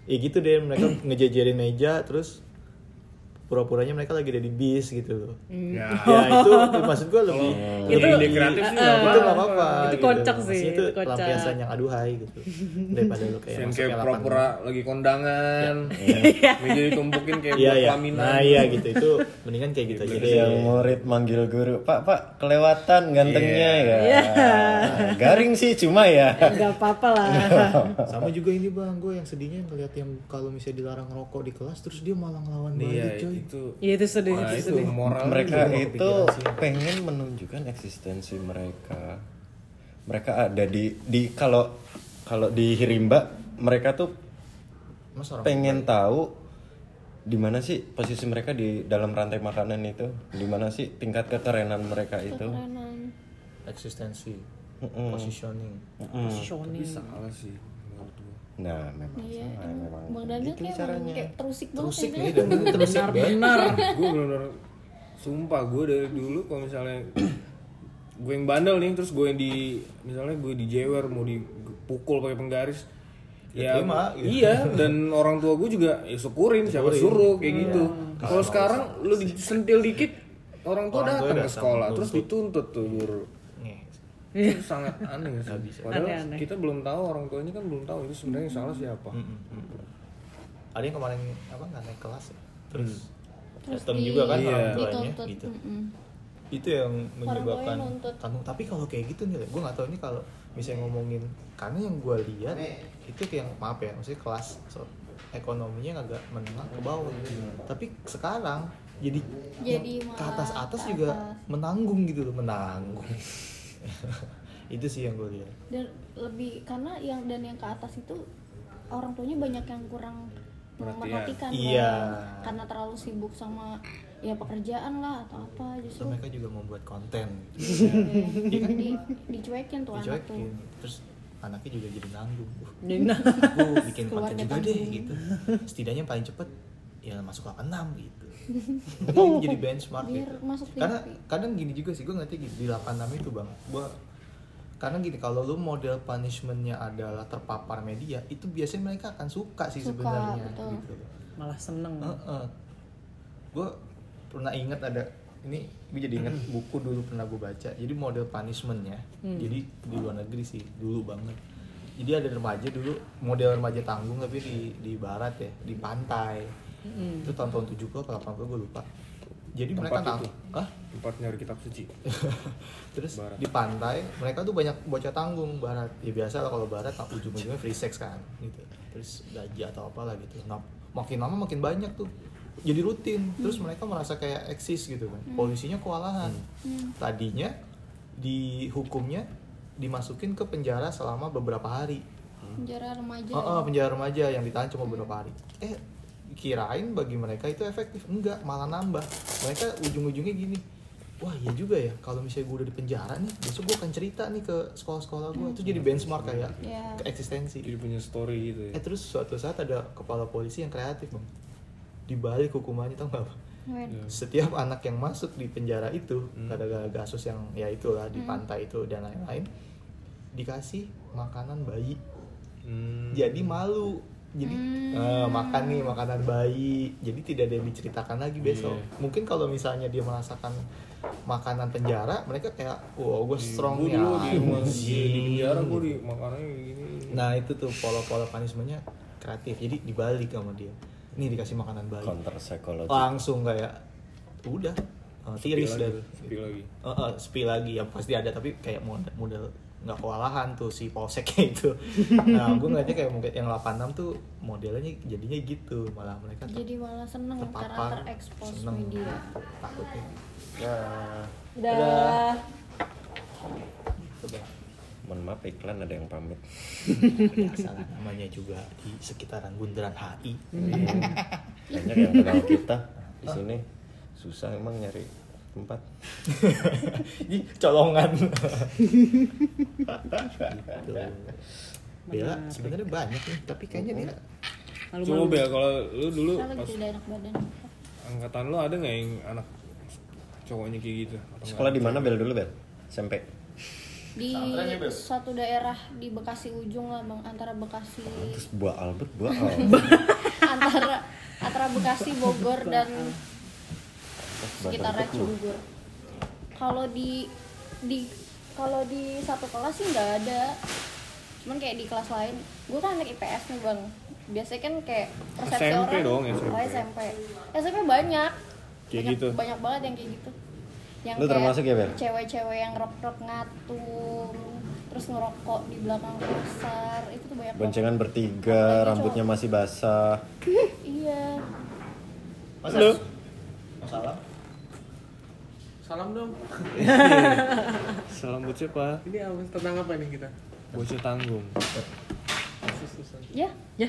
B: ya gitu deh mereka ngejajarin meja terus pura-puranya mereka lagi ada di bis gitu loh
E: ya
B: ya itu, itu maksud gue lebih
E: itu ide kreatif sih nggak
B: itu nggak apa-apa
C: Ah. Itu
B: gitu.
C: kocak sih,
B: Maksudnya itu
C: itu kocak.
B: pelampiasan yang aduhai gitu daripada lu kayak
E: Yang
B: masuk
E: kayak
B: ke lapangan.
E: pura-pura lagi kondangan, meja ditumpukin
B: Iya
E: kayak buat
B: iya.
E: pelaminan.
B: Nah iya gitu itu mendingan kayak gitu aja
A: Terus
B: deh.
A: yang murid manggil guru, Pak, Pak, kelewatan gantengnya
B: Iya.
A: ya. Garing sih cuma ya.
C: Gak apa-apa lah.
B: Sama juga ini bang, gue yang sedihnya ngeliat yang kalau misalnya dilarang rokok di kelas terus dia malah ngelawan
E: Iya
B: balik coy. gitu
E: itu.
C: Iya itu sedih,
E: Nah,
C: itu
E: itu
C: sedih.
E: moral
A: mereka itu pengen menunjukkan eksistensi mereka. Mereka ada di di kalau kalau di Hirimba mereka tuh
B: Mas orang
A: pengen tahu di mana sih posisi mereka di dalam rantai makanan itu, di mana sih tingkat kekerenan mereka itu.
B: eksistensi, positioning.
C: Shoni.
E: salah sih menurut gua.
A: Nah, memang salah, memang.
D: Bang Daniel
A: Gitu
D: kayak,
A: caranya.
D: kayak terusik banget
B: Terusik gitu.
D: ya.
B: nih dan terusik banget.
C: Benar.
E: gue bener-bener sumpah gue dari dulu kalau misalnya gue yang bandel nih terus gue yang di misalnya gue dijewer mau dipukul pakai penggaris ya
B: terima, gitu.
E: iya dan orang tua gue juga ya syukurin siapa suruh
B: Iya.
E: kayak gitu kalau sekarang lu disentil dikit orang tua
B: Orang tua
E: datang ke
B: datang,
E: sekolah terus dituntut tuh guru
B: Nih,
E: itu sangat Iya. aneh sih. padahal
C: Aneh-aneh.
E: kita belum tahu orang tuanya kan belum tahu itu sebenarnya yang salah siapa
B: Ada yang kemarin apa nggak naik kelas ya? Terus datang juga kan
E: Iya.
B: orang tuanya
D: Dituntut.
B: gitu.
D: Mm-mm.
B: itu yang
D: tuanya
B: menyebabkan
D: nuntut.
B: tanggung tapi kalau kayak gitu nih gue nggak tahu ini kalau misalnya ngomongin karena yang gue lihat itu kayak yang- maaf ya maksudnya kelas so- ekonominya agak menengah ke bawah tapi sekarang jadi,
D: Jadi
B: yang ke
D: malah
B: atas atas
D: ke
B: juga
D: atas.
B: menanggung gitu loh menanggung itu sih yang gue lihat
D: dan lebih karena yang dan yang ke atas itu orang tuanya banyak yang kurang
E: Perhatian.
D: memperhatikan kan.
B: Iya.
D: karena terlalu sibuk sama ya pekerjaan lah atau apa
B: Terus
D: justru
B: mereka juga membuat konten gitu.
D: Iya. jadi dicuekin tuh anak tuh
B: dicuekin terus anaknya juga jadi nanggung Uh,
C: Nina.
B: gue bikin konten
D: Keluarga
B: juga deh
D: tanggung.
B: gitu setidaknya paling cepet ya masuk 86 gitu Mungkin ini jadi benchmark
D: Biar
B: gitu
D: masuk di
B: karena
D: IP.
B: kadang gini juga sih gue ngerti gini, di 86 itu bang gue karena gini kalau lu model punishmentnya adalah terpapar media itu biasanya mereka akan suka sih
D: Suka,
B: sebenarnya
D: betul.
B: gitu
C: Malah seneng.
E: Hmm.
B: gue pernah inget ada ini gue jadi inget
E: Hmm.
B: buku dulu pernah gue baca jadi model punishmentnya jadi di luar negeri sih dulu banget jadi ada remaja dulu model remaja tanggung tapi di di barat ya di pantai itu tahun-tahun 70 atau 80 gue lupa jadi
E: Hmm.
B: mereka
E: Tempat
B: nang
E: itu.
B: Hah?
E: tempat nyari kitab suci
B: terus
E: Barat.
B: di pantai mereka tuh banyak bocah tanggung barat ya biasa lah kalau barat tak ujung-ujungnya free sex kan gitu terus gaji atau apalah gitu nah, makin lama makin banyak tuh jadi rutin terus mereka merasa kayak eksis gitu kan polisinya kewalahan
D: Hmm.
B: tadinya dihukumnya dimasukin ke penjara selama beberapa hari
D: penjara remaja
B: Oh, oh, penjara remaja yang ditahan cuma beberapa hari. Eh, kirain bagi mereka itu efektif. Enggak, malah nambah. Mereka ujung-ujungnya gini. Wah, iya juga ya. Kalau misalnya gue udah di penjara nih, besok gue akan cerita nih ke sekolah-sekolah gue. Terus jadi benchmark kayak
D: Iya.
B: ke eksistensi.
E: jadi punya story gitu ya
B: Eh, terus suatu saat ada kepala polisi yang kreatif, Bang. Di balik hukumannya tau gak apa?
D: Wait.
B: Setiap anak yang masuk di penjara itu, gara-gara kasus yang ya itulah di
D: Hmm.
B: pantai itu dan lain-lain, dikasih makanan bayi
E: Hmm.
B: jadi malu jadi
D: Hmm.
B: eh, makan nih makanan bayi jadi tidak ada yang diceritakan lagi besok
E: Iya.
B: mungkin kalau misalnya dia merasakan makanan penjara mereka kayak wow gue strong
E: Iya, Gua
B: ya
E: dulu di rumah Iya, di
B: anjing."
E: di penjara gue di makanannya gini
B: nah itu tuh pola-pola punishmentnya kreatif jadi dibalik sama dia nih dikasih makanan bayi
A: counter psychology
B: langsung kayak udah eh, tiris
E: Spill
B: dari
E: lagi, spill lagi
B: Eh, eh, spill lagi yang pasti ada tapi kayak model model nggak kewalahan tuh si polseknya itu nah gue ngeliatnya kayak mungkin yang 86 tuh modelnya jadinya gitu malah mereka ter-
D: jadi malah seneng karena
B: terpapar
D: terekspos
B: seneng
D: media
B: takutnya
C: Dah.
B: coba
A: mohon maaf iklan ada yang pamit
B: ya salah namanya juga di sekitaran bundaran HI Hmm.
A: banyak yang kenal kita di sini susah emang nyari tempat
B: Ih, colongan Gitu. Bella sebenarnya banyak nih tapi kayaknya dia
E: coba
C: Malu-malu.
E: bel kalau lu dulu
D: kita lagi
E: pas
D: tidak enak badan gitu.
E: angkatan lu ada nggak yang anak cowoknya kayak gitu Atau nggak?
A: sekolah di mana bel dulu bel SMP
D: di satu daerah di Bekasi ujung lah bang antara Bekasi
A: terus buah Albert buah Al
D: antara antara Bekasi Bogor dan sekitarnya Cibubur kalau di di kalau di satu kelas sih nggak ada cuman kayak di kelas lain gue kan anak IPS nih bang biasanya kan kayak persepsi
E: SMP
D: orang Oh,
E: dong,
D: SMP.
E: SMP.
D: SMP SMP banyak
E: Kayak
D: banyak,
E: gitu.
D: banyak banget yang kayak gitu yang
A: Lu
D: kayak
A: termasuk ya, Bel?
D: cewek-cewek yang rok-rok ngatung terus ngerokok di belakang pasar itu tuh banyak banget
A: boncengan bertiga rambutnya masih basah
D: iya
B: masa masalah
F: Salam dong.
E: salam buat siapa
F: Ini apa tentang apa nih kita?
E: bocah tanggung
F: Susan.
D: ya
C: Ya,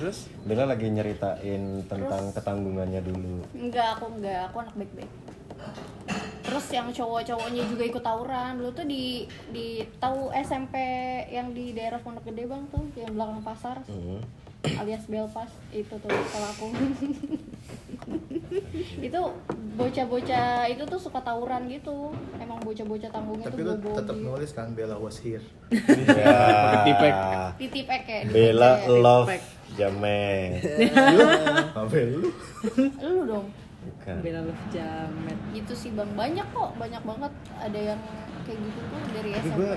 E: terus
A: Bella lagi nyeritain tentang ketanggungannya dulu
D: Enggak, aku enggak. Aku anak baik-baik. Terus yang cowok-cowoknya juga ikut tawuran. Dulu tuh di di tahu SMP yang di daerah Pondok Gede Bang tuh, yang belakang pasar
A: Hmm.
D: alias Belfast itu tuh kalau aku. itu bocah-bocah itu tuh suka tawuran gitu. Emang bocah-bocah tanggungnya
B: tapi lu
D: tuh bobo.
B: tetap nulis kan Bella was here
E: tipek.
A: ya
D: Titip ya
A: Bella
D: ditipek.
A: love Jameng
B: sampai lu
D: Lu dong.
A: bukan
C: Bella love jamet.
D: Gitu sih Bang. Banyak kok, banyak banget ada yang kayak gitu tuh dari
A: tapi
D: SMP.
A: gue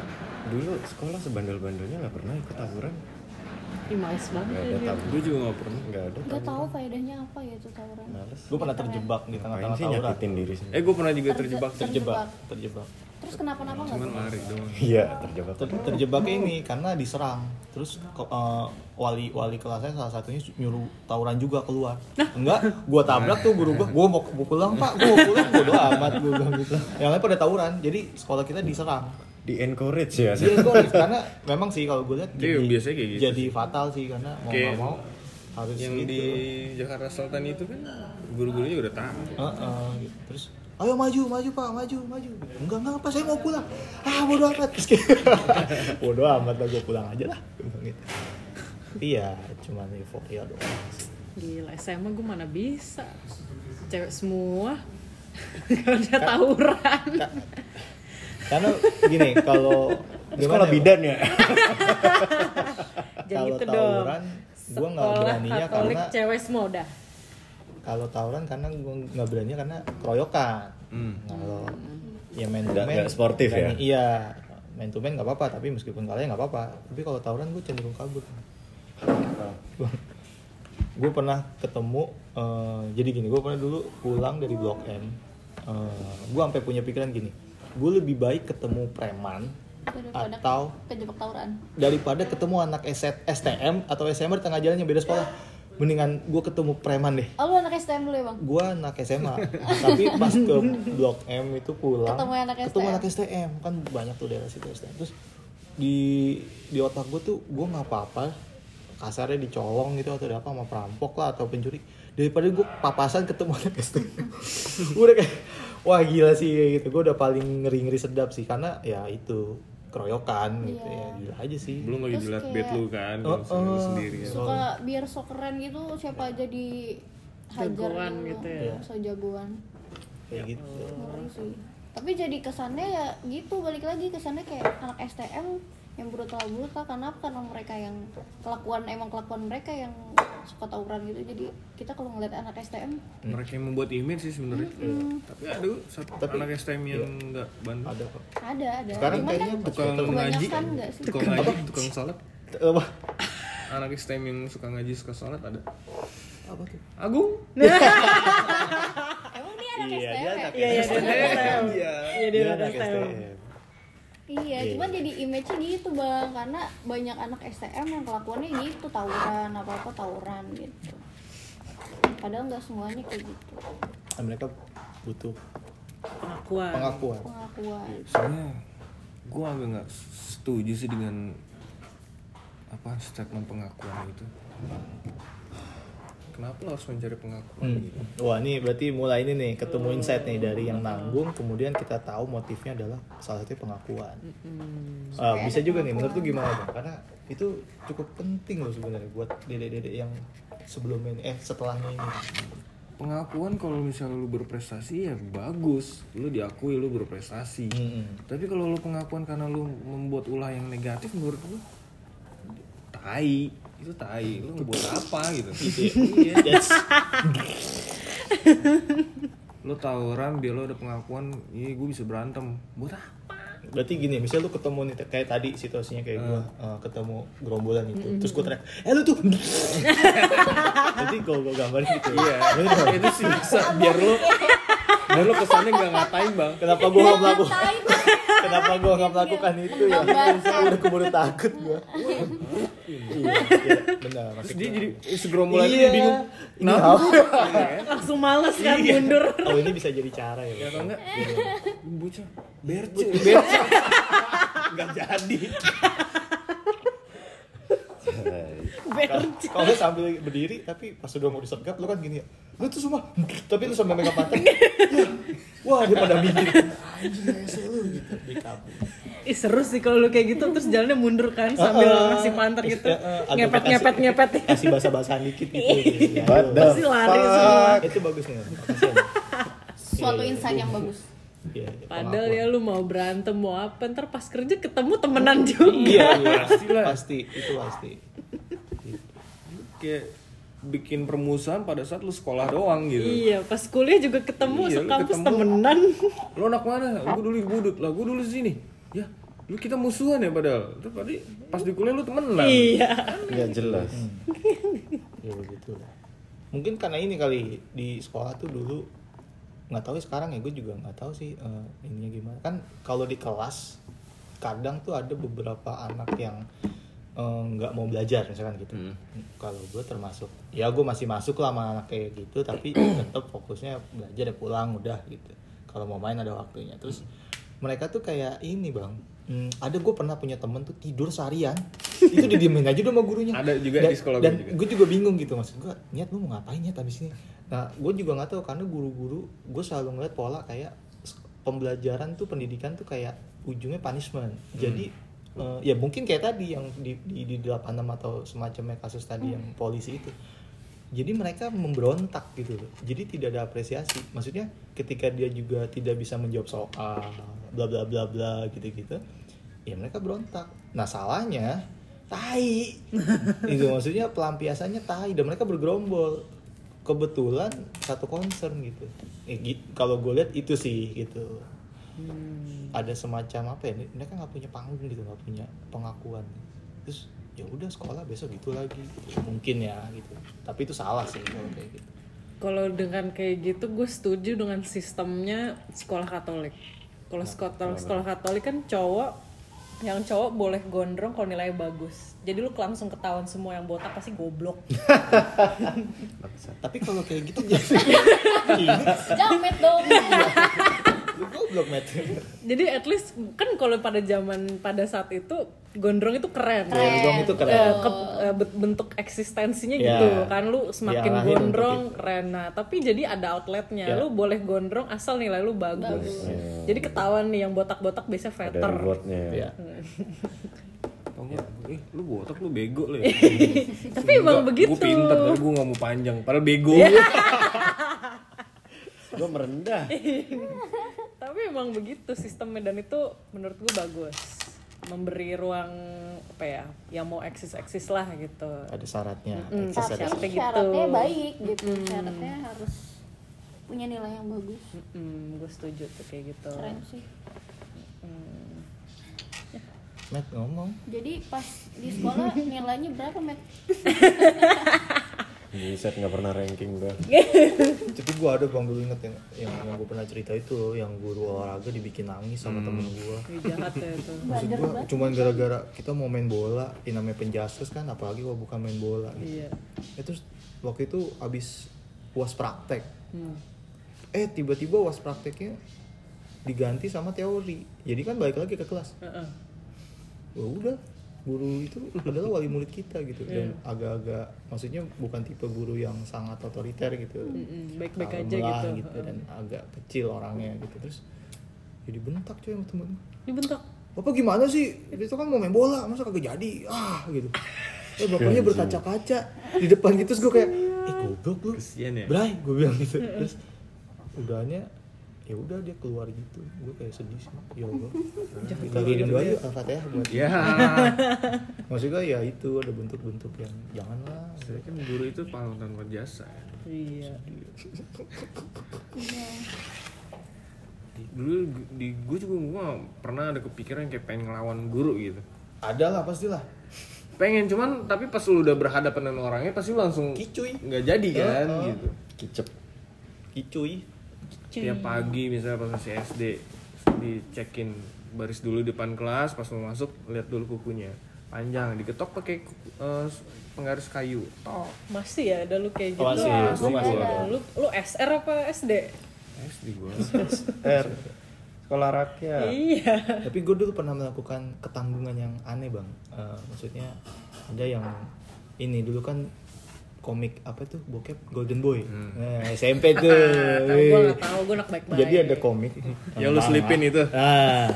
A: dulu sekolah sebandel-bandelnya nggak pernah ikut tawuran
C: Ih, males banget
A: nggak
C: ya
A: ada
C: dia.
A: tawuran
E: gue juga nggak pernah
A: nggak ada
D: Gak tahu faedahnya apa ya itu tawuran.
A: males
B: gue pernah terjebak di
A: ngapain
B: tengah-tengah
A: sih
B: tawuran
A: nyakitin diri
E: eh
A: sendiri
E: gue pernah juga
D: Terje-
E: terjebak
B: terjebak terjebak
D: Terus kenapa-napa nggak?
E: cuman lari doang
A: iya terjebak
B: Ter- terjebak ini karena diserang terus ke- eh, wali wali kelasnya salah satunya nyuruh tawuran juga keluar enggak gua tabrak tuh guru gua gua mau, mau pulang pak gua mau pulang bodo amat gua bilang gitu yang lain pada tawuran jadi sekolah kita diserang
A: di encourage ya sih
B: Iya, gua- karena memang sih kalau gua lihat
E: Iya, biasanya kayak gitu
B: jadi fatal sih karena mau
E: Kayak
B: nggak mau harus
E: yang
B: gitu.
E: di Jakarta Selatan itu kan guru-gurunya udah tahu
B: Heeh, gitu. terus ayo maju maju pak maju maju enggak enggak pak saya mau pulang ah bodo amat Terus kayak, bodo amat lah gue pulang aja lah gitu. iya cuman euforia doang sih.
C: Gila, SMA gue mana bisa. Cewek semua. Gak ada tawuran.
B: karena gini kalau
A: sekolah
B: gimana ya,
A: bidan ya
C: Jangan
B: kalau
C: gitu dong.
B: tawuran gue nggak
C: Sekolah
B: beraninya
C: Katolik
B: karena
C: cewek semua udah.
B: kalau tawuran karena gue nggak beraninya karena keroyokan kalau ya main to
A: Hmm. Nggak-
B: man,
A: nggak sportif ya?
B: berani- iya main to main nggak apa-apa tapi meskipun kalah ya nggak apa-apa tapi kalau tawuran gue cenderung kabur gue pernah ketemu eh, jadi gini gue pernah dulu pulang dari blok M gue sampai punya pikiran gini gue lebih baik ketemu preman
D: Daripada
B: atau
D: kejebak tawuran.
B: daripada ketemu anak S- STM atau SMR di tengah jalan yang beda sekolah mendingan gue ketemu preman deh
D: Oh lu anak STM dulu ya bang?
B: gue anak SMA tapi pas ke blok M itu pulang
D: Ketemu anak
B: ketemu
D: STM.
B: anak STM kan banyak tuh daerah situ STM terus di di otak gue tuh gue nggak apa-apa kasarnya dicolong gitu atau ada apa sama perampok lah atau pencuri daripada gue papasan ketemu anak STM Gua udah kayak wah gila sih kayak gitu gue udah paling ngeri ngeri sedap sih karena ya itu keroyokan gitu
D: Iya.
B: ya gila aja sih
E: belum lagi
D: Terus
E: dilihat
D: kayak-
E: bed lu kan
B: Oh,
E: kalau misalnya lu
B: oh.
E: sendiri ya
D: Suka biar so keren gitu siapa aja di hajar
C: Jagoan
D: dulu.
C: gitu ya.
B: Iya.
D: So jagoan.
B: kayak gitu
D: Ngeri sih. Tapi jadi kesannya ya gitu balik lagi kesannya kayak anak STM yang brutal brutal karena apa? karena mereka yang kelakuan emang kelakuan mereka yang suka tawuran gitu jadi kita kalau ngeliat anak STM
B: Hmm.
E: mereka yang membuat image sih sebenarnya
D: Hmm.
E: Iya. tapi ada satu
B: Tapi- iya.
E: anak STM yang nggak bandel
B: ada kok
D: ada ada
B: sekarang
D: Cuman
B: kayaknya
D: kan
E: tukang ngaji
D: kebanyakan nggak
C: Iya,
D: sih
E: tukang ngaji tukang salat
B: apa
E: anak STM yang suka ngaji suka salat ada
B: apa tuh
E: Agung
D: Nah. emang dia anak
B: Iya,
D: STM
B: dia
D: ya?
B: anak
C: Iya iya dia anak STM. Iya dia anak STM.
D: Iya,
B: Iya.
D: cuman jadi image-nya gitu bang, karena banyak anak STM yang kelakuannya gitu tawuran apa apa tawuran gitu. Padahal nggak semuanya kayak gitu
B: Dan mereka butuh
C: Pengakuan.
B: pengakuan
D: pengakuan.
E: sebenarnya gue agak nggak setuju sih dengan apa statement pengakuan gitu kenapa lo harus mencari pengakuan
B: Hmm.
E: gitu
B: Wah ini berarti mulai ini nih ketemu insight nih dari yang nanggung kemudian kita tahu motifnya adalah salah satunya pengakuan. Ah,
D: Hmm. Supaya
B: bisa
D: ada
B: juga nih menurut lu
D: pengakuan.
B: gimana bang? Karena itu cukup penting loh sebenarnya buat dedek-dedek yang sebelumnya ini eh setelahnya ini.
E: pengakuan kalau misalnya lu berprestasi ya bagus lu diakui lu berprestasi
B: Mm-mm.
E: tapi kalau lu pengakuan karena lu membuat ulah yang negatif menurut gue tai itu tai lu ngebuat apa gitu iya
B: Yes.
E: lu tawuran biar lu ada pengakuan iya gue bisa berantem buat apa
B: Berarti gini, misalnya lu ketemu nih kayak tadi situasinya kayak gua
D: Hmm.
B: eh, ketemu gerombolan itu, terus gua teriak, eh lu tuh. Jadi kalau gua gambarin gitu. Iya.
E: itu sih bisa biar lu biar lu kesannya nggak ngatain bang
B: Kenapa gua nggak melakukan?
D: Tai,
B: Kenapa gua nggak melakukan itu ya?
D: Menggambarkan.
B: Udah keburu takut gua. iya, iya, benar.
E: terus
B: maksud
E: dia
B: gua.
E: jadi segerombolan itu dia
B: Iya.
E: bingung
B: Ini
E: kenapa
B: apa?
C: Langsung males kan mundur.
B: Oh ini bisa jadi cara ya.
E: ya
B: Bang?
E: atau enggak
B: Iya.
E: bocah berce berce nggak jadi
B: Kalau- Kalau lu sambil berdiri tapi pas udah mau disergap lu kan gini ya. Lu tuh semua tapi lu sampai megang pantat. Ya. Wah, dia pada mikir. Anjing rese lu gitu. Dikabur.
C: Ih seru sih kalau lu kayak gitu terus jalannya mundur kan sambil
B: Heeh.
C: masih panter gitu.
B: Terus, eh, eh, agak
C: Ngepet
B: kasih-
C: ngepet ngepet. Iya.
B: Kasih basa-basaan dikit gitu. Ya,
A: What
B: lu.
A: the
C: Pasti lari semua.
A: fuck?
B: itu bagus nih. makasih, Bang.
D: Suatu insight yang bagus.
B: Iya, iya,
C: Padahal
B: pengakuan.
C: ya lu mau berantem mau apa ntar pas kerja ketemu temenan juga.
B: Iya, iya. pasti itu pasti.
E: kayak bikin permusuhan pada saat lu sekolah doang gitu
C: Iya, pas kuliah juga ketemu
E: Iya, lu
C: sekampus
E: ketemu.
C: temenan.
E: lo anak mana gue dulu di budut lah gue dulu di sini ya lu kita musuhan ya padahal itu tadi pas di kuliah lu temenan
C: iya.
A: nggak jelas
B: Ya begitu lah. Mungkin karena ini kali di sekolah tuh dulu nggak tahu ya sekarang ya gue juga nggak tahu sih eh, ininya gimana kan kalau di kelas kadang tuh ada beberapa anak yang eh, nggak mau belajar misalkan gitu
E: Hmm.
B: kalau gue termasuk ya gue masih masuk lah sama anak kayak gitu tapi tetap fokusnya belajar ya pulang udah gitu kalau mau main ada waktunya terus mereka tuh kayak ini bang Hmm, ada gue pernah punya temen tuh tidur seharian itu didiemin aja udah sama gurunya
E: Ada juga
B: Dan-
E: di sekolah gue
B: dan
E: juga.
B: gue juga bingung gitu maksud gue niat lu mau ngapain niat habis ini nah gue juga nggak tahu karena guru-guru gue selalu ngeliat pola kayak s- pembelajaran tuh pendidikan tuh kayak ujungnya punishment jadi eh, ya mungkin kayak tadi yang di di, di 86 atau semacamnya kasus tadi yang polisi itu jadi mereka memberontak gitu loh jadi tidak ada apresiasi maksudnya ketika dia juga tidak bisa menjawab soal bla bla bla bla gitu gitu ya mereka berontak nah salahnya tai itu maksudnya pelampiasannya tai dan mereka bergerombol kebetulan satu concern gitu Eh, gi- kalau gue lihat itu sih gitu ada semacam apa ya mereka nggak punya panggung gitu nggak punya pengakuan terus ya udah sekolah besok gitu lagi mungkin ya gitu tapi itu salah sih kalau kayak gitu
C: Kalau dengan kayak gitu, gue setuju dengan sistemnya sekolah Katolik. Kalau sekolah sekolah Katolik kan cowok, yang cowok boleh gondrong kalau nilainya bagus. Jadi lu langsung ketahuan semua yang botak pasti goblok.
B: tapi kalau kayak gitu jadi ini
D: Jamet dong.
B: lu goblok met
C: Jadi at least kan kalau pada zaman pada saat itu gondrong itu keren.
B: gondrong itu keren
C: Eh, ke- eh, bet- bentuk eksistensinya
B: Ya.
C: gitu kan lu semakin
B: Diarahin untuk
C: gondrong
B: itu.
C: keren nah tapi jadi ada outletnya
B: Ya.
C: lu boleh gondrong asal nilai lu bagus,
A: Bagus.
C: jadi ketahuan nih yang botak-botak biasanya
A: ada
C: veter
A: rewardnya ya.
B: ya
E: Tau nggak? Eh, lu botak lu bego lu ya.
C: tapi emang begitu Iya.
E: Gue pinter, tapi gue nggak mau panjang. Padahal bego.
A: gue merendah
C: tapi emang begitu sistemnya dan itu menurut gue bagus memberi ruang apa ya yang mau eksis eksis lah gitu
B: ada syaratnya
C: Mm-mm.
B: Access
D: Tapi
B: ada-
C: Syaratnya gitu.
D: syaratnya baik gitu. Syaratnya harus punya nilai yang bagus.
C: hmm, gue setuju tuh kayak gitu Mm,
D: Keren sih.
B: met ngomong
D: Jadi pas di sekolah nilainya berapa, Met?
A: di set nggak pernah ranking gue
B: tapi gue ada bang dulu inget yang yang, yang gue pernah cerita itu yang guru olahraga dibikin nangis sama temen gue
C: Ih, jahat ya itu
B: maksud gue cuman gara-gara kita mau main bola ini namanya penjaskes kan apalagi kalau bukan main bola gitu.
C: iya
B: Ya, terus waktu itu abis uas praktek eh tiba-tiba uas prakteknya diganti sama teori jadi kan balik lagi ke kelas
C: Heeh.
B: ya udah guru itu adalah wali murid kita gitu dan agak-agak maksudnya bukan tipe guru yang sangat otoriter gitu
C: Hmm. Mm-mm, baik-baik aja
B: Kalem lah
C: gitu.
B: dan agak kecil orangnya gitu terus jadi bentak cuy sama temen
C: dibentak
B: bapak gimana sih itu kan mau main bola masa kagak jadi ah gitu eh bapaknya berkaca-kaca di depan gitu terus gue kayak eh goblok lu
E: Kesian ya.
B: Bray, gue bilang gitu. Terus udahnya ya udah dia keluar gitu. Gue kayak sedih sih. Ya Allah. Kalian doa yuk Al-Fatihah buat.
E: Ya.
B: Maksud gue ya itu ada bentuk-bentuk yang janganlah.
E: Saya kan guru itu pahlawan tanpa jasa.
C: iya
E: ya. Di- Dulu gu- di gue juga gue pernah ada kepikiran kayak pengen ngelawan guru gitu.
B: Ada lah pastilah.
E: Pengen cuman tapi pas lu udah berhadapan dengan orangnya pasti lu langsung
B: Kicuy.
E: nggak jadi kan
B: Heeh.
E: gitu.
A: kicep
B: Kicuy.
E: Tiap pagi misalnya pas masih SD dicekin baris dulu di depan kelas pas mau masuk lihat dulu kukunya panjang diketok pakai kuku- eh, penggaris kayu tok
C: masih ya ada lu kayak gitu
B: Oh. Masih,
C: Ah,
B: gua masih
C: ada. lu lu SR apa SD
E: SD gue
A: R sekolah rakyat
C: iya
B: Tapi gue dulu pernah melakukan ketanggungan yang aneh bang. Eh, maksudnya ada yang ini dulu kan komik apa tuh bokep Golden Boy.
E: Hmm.
B: Nah, SMP tuh.
C: gue
B: Wih.
C: gak tau gue anak baik-baik
B: Jadi ada komik.
E: Ya, lu
B: Manga.
E: selipin itu.
B: Ah,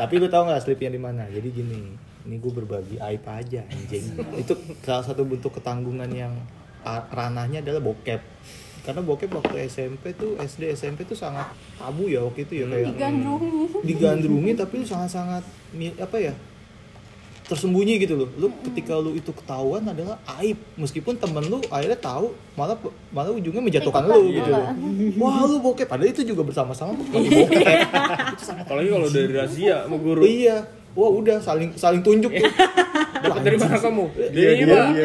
B: tapi lu tahu nggak selipnya di mana? Jadi gini, ini gue berbagi aib aja anjing. itu salah satu bentuk ketanggungan yang a- ranahnya adalah bokep. Karena bokep waktu SMP tuh SD SMP tuh sangat tabu ya waktu itu ya kayak
D: Digandrungi.
B: digandrungi tapi lu sangat-sangat mi- apa ya? tersembunyi gitu loh. Lu ketika lu itu ketahuan adalah aib. Meskipun temen lu akhirnya tahu, malah malah ujungnya menjatuhkan lu gitu loh. Wah, lu bokep. Padahal itu juga bersama-sama pakai bokep.
E: apalagi kalau dari razia sama guru
B: iya. Wah, udah saling saling tunjuk tuh.
E: dapat dari mana kamu
A: Iya,
E: dari
A: iya,
E: Pak.
A: iya.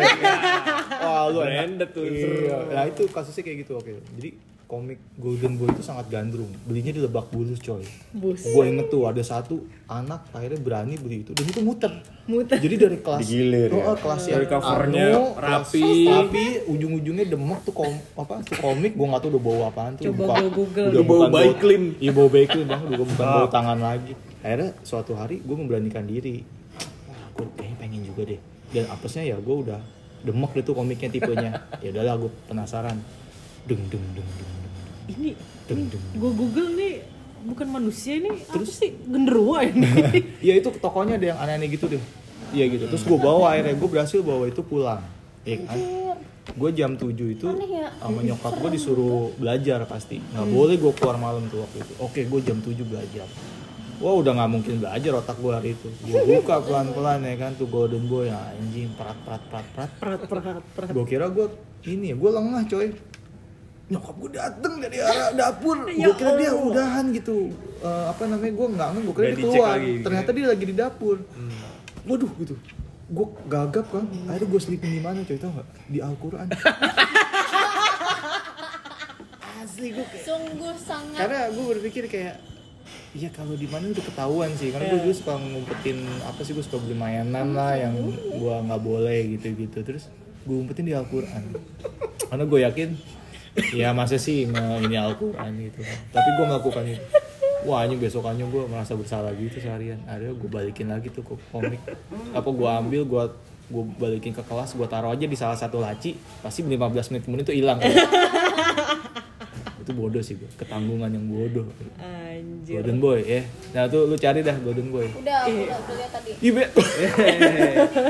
B: Wah, lu enak.
E: Branded tuh.
B: Iya. Nah, itu kasusnya kayak gitu oke. Jadi komik Golden Boy itu sangat gandrung. Belinya di Lebak Bulus, coy. Gue inget tuh ada satu anak akhirnya berani beli itu dan itu muter. Muter. Jadi dari kelas
A: Digilir ya.
B: Oh, kelas yang
E: Dari covernya
B: Arno,
E: rapi.
B: kelas- rapi, ujung-ujungnya demek tuh kom, apa tuh komik gue nggak tahu udah bawa apaan tuh.
C: Coba gua Google
B: udah
C: deh.
B: bukan
E: Bau Baiklin.
B: Iya bau Baiklin bang, udah bukan
E: Ah.
B: bau tangan lagi. Akhirnya suatu hari gue memberanikan diri. Wah, gue kayaknya pengen juga deh. Dan apesnya ya gue udah demek deh tuh komiknya tipenya. Ya udahlah gue penasaran. Dung dung dung dung dung,
C: ini
B: dung dung.
C: gue google nih bukan manusia ini
B: Terus?
C: terus apa sih genderuwo ini
B: ya itu tokonya ada yang aneh-aneh gitu deh iya gitu terus gue bawa akhirnya gue berhasil bawa itu pulang ya kan gue jam 7 itu
D: Aneh ya.
B: sama nyokap gue disuruh belajar pasti nggak
D: Hmm.
B: boleh gue keluar malam tuh waktu itu oke gue jam 7 belajar Wah udah nggak mungkin belajar otak gue hari itu Gue buka pelan-pelan ya kan tuh golden boy ya anjing prat prat prat prat
C: perat perat perat
B: Gue kira gue ini ya, gue lengah coy Nyokap gue dateng dari arah dapur
C: Ya
B: Gue kira dia udahan gitu Eh, Apa namanya, gue nggak ngerti, gue kira
E: Udah
B: dia
E: dicek gitu ya?
B: keluar
E: lagi, Hmm.
B: Ternyata dia lagi di dapur Waduh gitu gue gagap kan akhirnya gue selipin di mana coy tau nggak di Al-Quran asli gue kayak
D: sungguh sangat
B: karena gue berpikir kayak Iya kalau di mana udah ketahuan sih, karena gue dulu suka ngumpetin apa sih gue suka beli mainan lah yang gue nggak boleh gitu-gitu, terus gue umpetin di Al-Quran, karena gue yakin ya masa sih nge- ini Al-Quran gitu, kan. tapi gue melakukan itu. Wah ini besokannya gue merasa bersalah gitu seharian, akhirnya gue balikin lagi tuh ke komik, apa gue ambil gue gue balikin ke kelas, gue taruh aja di salah satu laci, pasti 15 menit kemudian itu hilang. itu bodoh sih gue, ketanggungan yang bodoh.
C: Anjir.
B: Golden Boy ya. Nah tuh lu cari dah Golden Boy.
D: udah udah udah lihat tadi
B: Ibe.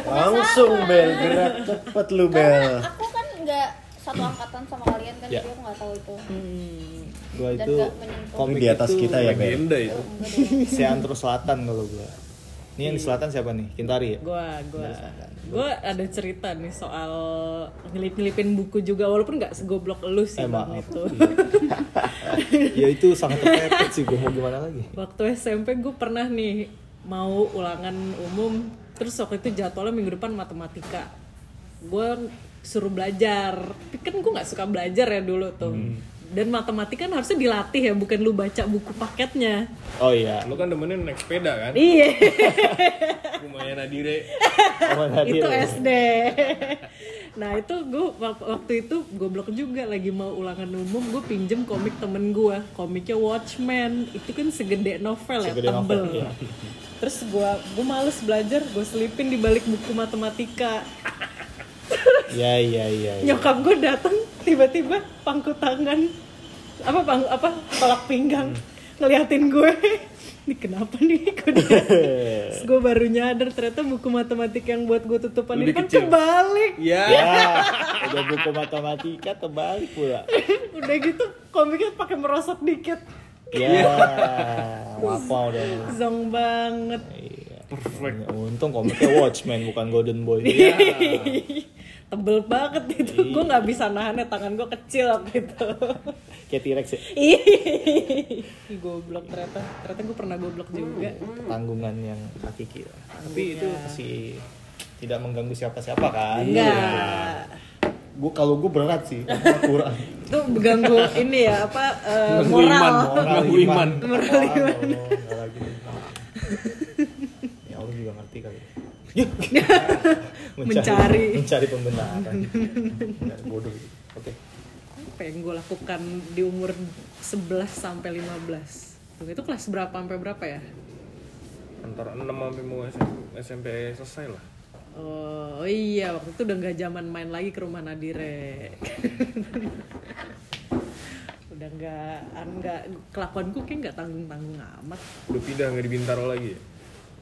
A: Langsung bel gerak cepet lu bel.
D: aku kan nggak satu angkatan sama kalian kan
B: Ya.
D: jadi aku nggak tahu itu
B: gua
D: Dan
B: itu
D: nggak menyentuh.
B: komik
A: Di atas
B: itu
A: kita ya bel.
E: Legenda itu.
B: Seantero Selatan kalau gua. Ini yang di selatan siapa nih? Kintari ya?
C: Gua, gua, gua ada cerita nih soal nyelip-nyelipin buku juga walaupun nggak segoblok lu sih
B: Eh,
C: bang
B: maaf.
C: itu.
B: ya itu sangat terpepet sih gua mau gimana lagi.
C: Waktu SMP gue pernah nih mau ulangan umum, terus waktu itu jadwalnya minggu depan matematika. Gue suruh belajar, tapi kan gue nggak suka belajar ya dulu tuh. Dan matematika kan harusnya dilatih ya, bukan lu baca buku paketnya.
B: Oh iya.
E: Lu kan demenin naik sepeda kan?
C: Iya.
E: Lumayan Adire.
B: Apa tadi?
C: itu SD. nah itu gue waktu itu goblok juga lagi mau ulangan umum gue pinjem komik temen gue komiknya Watchmen itu kan segede novel
B: Segede
C: ya tebel.
B: novel, iya.
C: Terus gue gue males belajar gue selipin di balik buku matematika.
A: Iya,
B: Ya ya ya. ya.
C: Nyokap gue datang tiba-tiba pangku tangan apa pang apa tolak pinggang
B: Hmm.
C: ngeliatin gue. Ini kenapa nih gue gue baru nyadar ternyata buku matematika yang buat gue tutupan ini
E: Lebih
C: kan
E: kecil.
C: kebalik.
E: Iya.
B: Ya, udah buku matematika terbalik pula.
C: udah gitu komiknya pakai merosot dikit
A: Iya.
B: Ya, apa udah.
C: zong banget
B: Iya. Untung komiknya Watchmen bukan Golden Boy. Iya.
C: tebel banget itu gue nggak bisa nahannya tangan gue kecil waktu itu
B: Kayak T-Rex ya.
C: Ih, goblok ternyata ternyata gue pernah goblok juga
B: tanggungan yang hakiki lah. Tapi itu masih tidak mengganggu siapa-siapa kan.
C: enggak
B: Gua kalau gua berat sih, gua kurang.
C: itu mengganggu ini ya apa eh, Iya. moral
E: Mengganggu iman.
B: Moral iman. Allah, nggak lagi. Ya Allah juga ngerti kali. Yuk.
C: Mencari.
B: mencari pembenaran. Benar, bodoh. Oke.
C: apa yang gue lakukan di umur 11 sampai 15 Tuh, itu kelas berapa sampai berapa ya
E: Antara 6 sampai mau SMP, SMP selesai lah.
C: Oh iya, waktu itu udah nggak zaman main lagi ke rumah Nadire. udah nggak, an- nggak kelakuanku kayak nggak tanggung tanggung amat.
E: Udah pindah nggak di Bintaro lagi ya?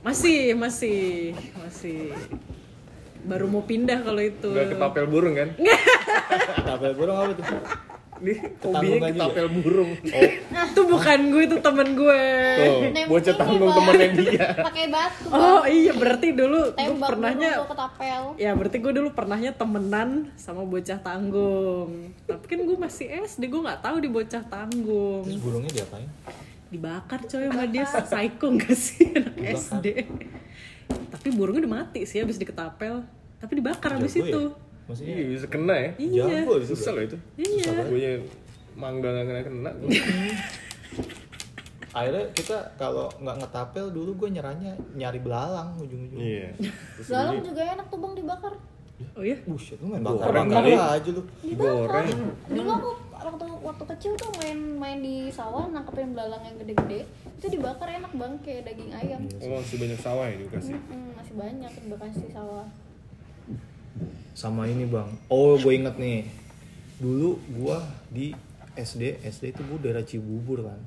C: Masih, masih, masih. Baru mau pindah kalau itu.
E: Nggak ketapel burung kan?
B: Tabel burung apa tuh?
E: Ini hobinya
B: Ketanggungan juga.
E: ketapel ya? burung.
C: Itu bukan gue, itu temen gue.
E: Tuh,
D: Nembak
E: Oh, bocah
D: ini,
E: tanggung
D: Bang.
E: temennya dia.
D: pakai batu
C: Oh iya, berarti dulu gue
D: tembak
C: pernahnya
D: dulu ketapel
C: Ya berarti gue dulu pernahnya temenan sama bocah tanggung Tapi kan gue masih SD, gue gak tahu di bocah tanggung
B: Terus burungnya diapain?
C: dibakar coy sama dia psycho gak sih anak SD tapi burungnya udah mati sih abis diketapel tapi dibakar
B: Jago
C: abis
B: ya?
C: itu
B: Maksudnya
E: Iya bisa kena ya.
C: iya
B: jago itu.
E: Susah loh itu.
C: iya
E: Gue mangga nggak kena kena.
B: Akhirnya kita kalau nggak ngetapel dulu gue nyerahnya nyari belalang ujung-ujungnya.
E: Iya.
D: lalu juga enak tuh bang dibakar
C: oh iya
B: Buset, lu main bakar
E: Goreng
B: bakar
E: kali.
B: aja lu.
D: dibakar dulu aku waktu waktu kecil tuh main main di sawah nangkepin belalang yang gede-gede itu dibakar enak bang kayak daging ayam
E: Oh, masih banyak sawah ya di Bekasi.
D: Hmm, masih banyak di Bekasi sawah
B: Sama ini bang. Oh, gue inget nih. Dulu gua di SD, SD itu gue daerah Cibubur kan,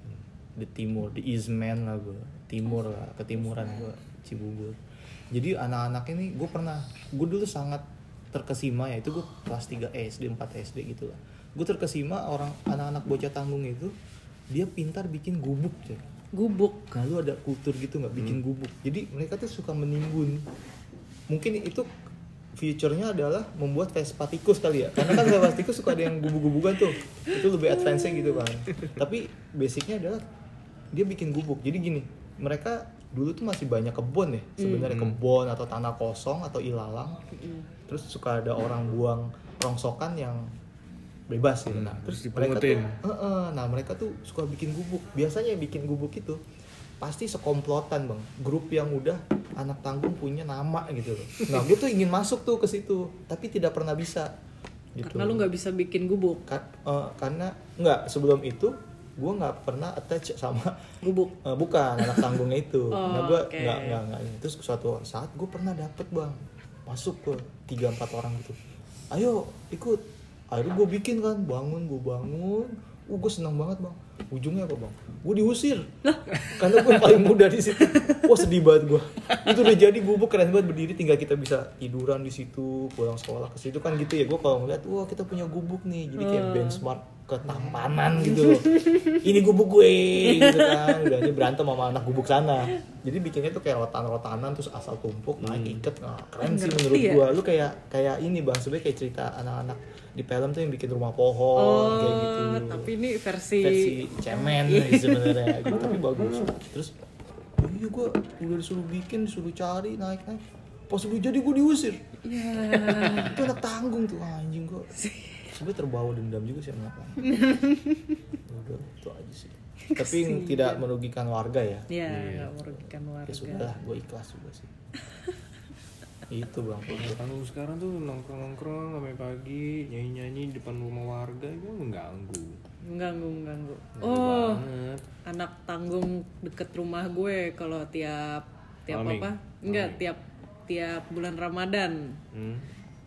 B: di timur, di Eastman lah gue, timur lah, ketimuran gue, Cibubur. Jadi anak-anak ini gue pernah, gue dulu sangat terkesima ya itu gue kelas 3 SD 4 SD gitu lah gue terkesima orang anak-anak bocah tanggung itu dia pintar bikin gubuk coy.
C: gubuk
B: Nah lu ada kultur gitu nggak bikin gubuk. Jadi mereka tuh suka menimbun. Mungkin itu future-nya adalah membuat Vespa tikus kali ya. Karena kan Vespa tikus suka ada yang gubuk-gubukan tuh. Itu lebih advance gitu kan. Tapi basicnya adalah dia bikin gubuk. Jadi gini, mereka dulu tuh masih banyak kebun ya sebenarnya kebun atau tanah kosong atau ilalang terus suka ada orang buang rongsokan yang bebas ya nah terus mereka tuh,
E: dipungutin.
B: eh-eh, nah mereka tuh suka bikin gubuk biasanya yang bikin gubuk itu pasti sekomplotan bang grup yang udah anak tanggung punya nama gitu loh nah gue tuh ingin masuk tuh ke situ tapi tidak pernah bisa gitu
C: Karena lu nggak bisa bikin gubuk,
B: Ka- eh, karena nggak sebelum itu gue nggak pernah attach sama
C: gubuk.
B: eh, bukan anak tanggungnya itu
C: Oh,
B: nah gue
C: oke.
B: nggak nggak nggak ini. terus suatu saat gue pernah dapet bang masuk ke tiga empat orang gitu ayo ikut akhirnya gue bikin kan bangun gue bangun uh gue senang banget bang ujungnya apa bang gue diusir karena gue paling muda di situ wah sedih banget gue itu udah jadi gubuk keren banget berdiri tinggal kita bisa tiduran di situ pulang sekolah ke situ kan gitu ya gue kalau ngeliat wah kita punya gubuk nih jadi kayak
C: Hmm.
B: benchmark ketampanan gitu loh ini gubuk gue gitu kan udah aja berantem sama anak gubuk sana jadi bikinnya tuh kayak rotan-rotanan terus asal tumpuk naik iket nah, keren sih
C: Hmm. Ngerti
B: menurut
C: ya?
B: gue lu kayak kayak ini bang sebenarnya kayak cerita anak-anak di film tuh yang bikin rumah pohon kayak gitu
C: Oh, tapi Iya. ini versi,
B: versi cemen sebenarnya gitu tapi bagus
C: Hmm.
B: terus oh iya gue udah disuruh bikin disuruh cari naik naik pas gue jadi gue diusir
C: Ya,
B: itu anak tanggung tuh ah, anjing gue sebenarnya terbawa dendam juga sih sama anak tanggung. udah itu aja sih tapi tidak merugikan warga ya
C: ya nggak merugikan warga.
B: ya sudah lah gue ikhlas juga sih itu bang
E: Kan lu sekarang tuh nongkrong-nongkrong sampai pagi, nyanyi-nyanyi di depan rumah warga itu mengganggu.
C: Mengganggu, mengganggu. Oh, anak tanggung deket rumah gue kalau tiap tiap
E: Maling.
C: apa? Enggak, tiap tiap bulan Ramadan.
E: Hmm.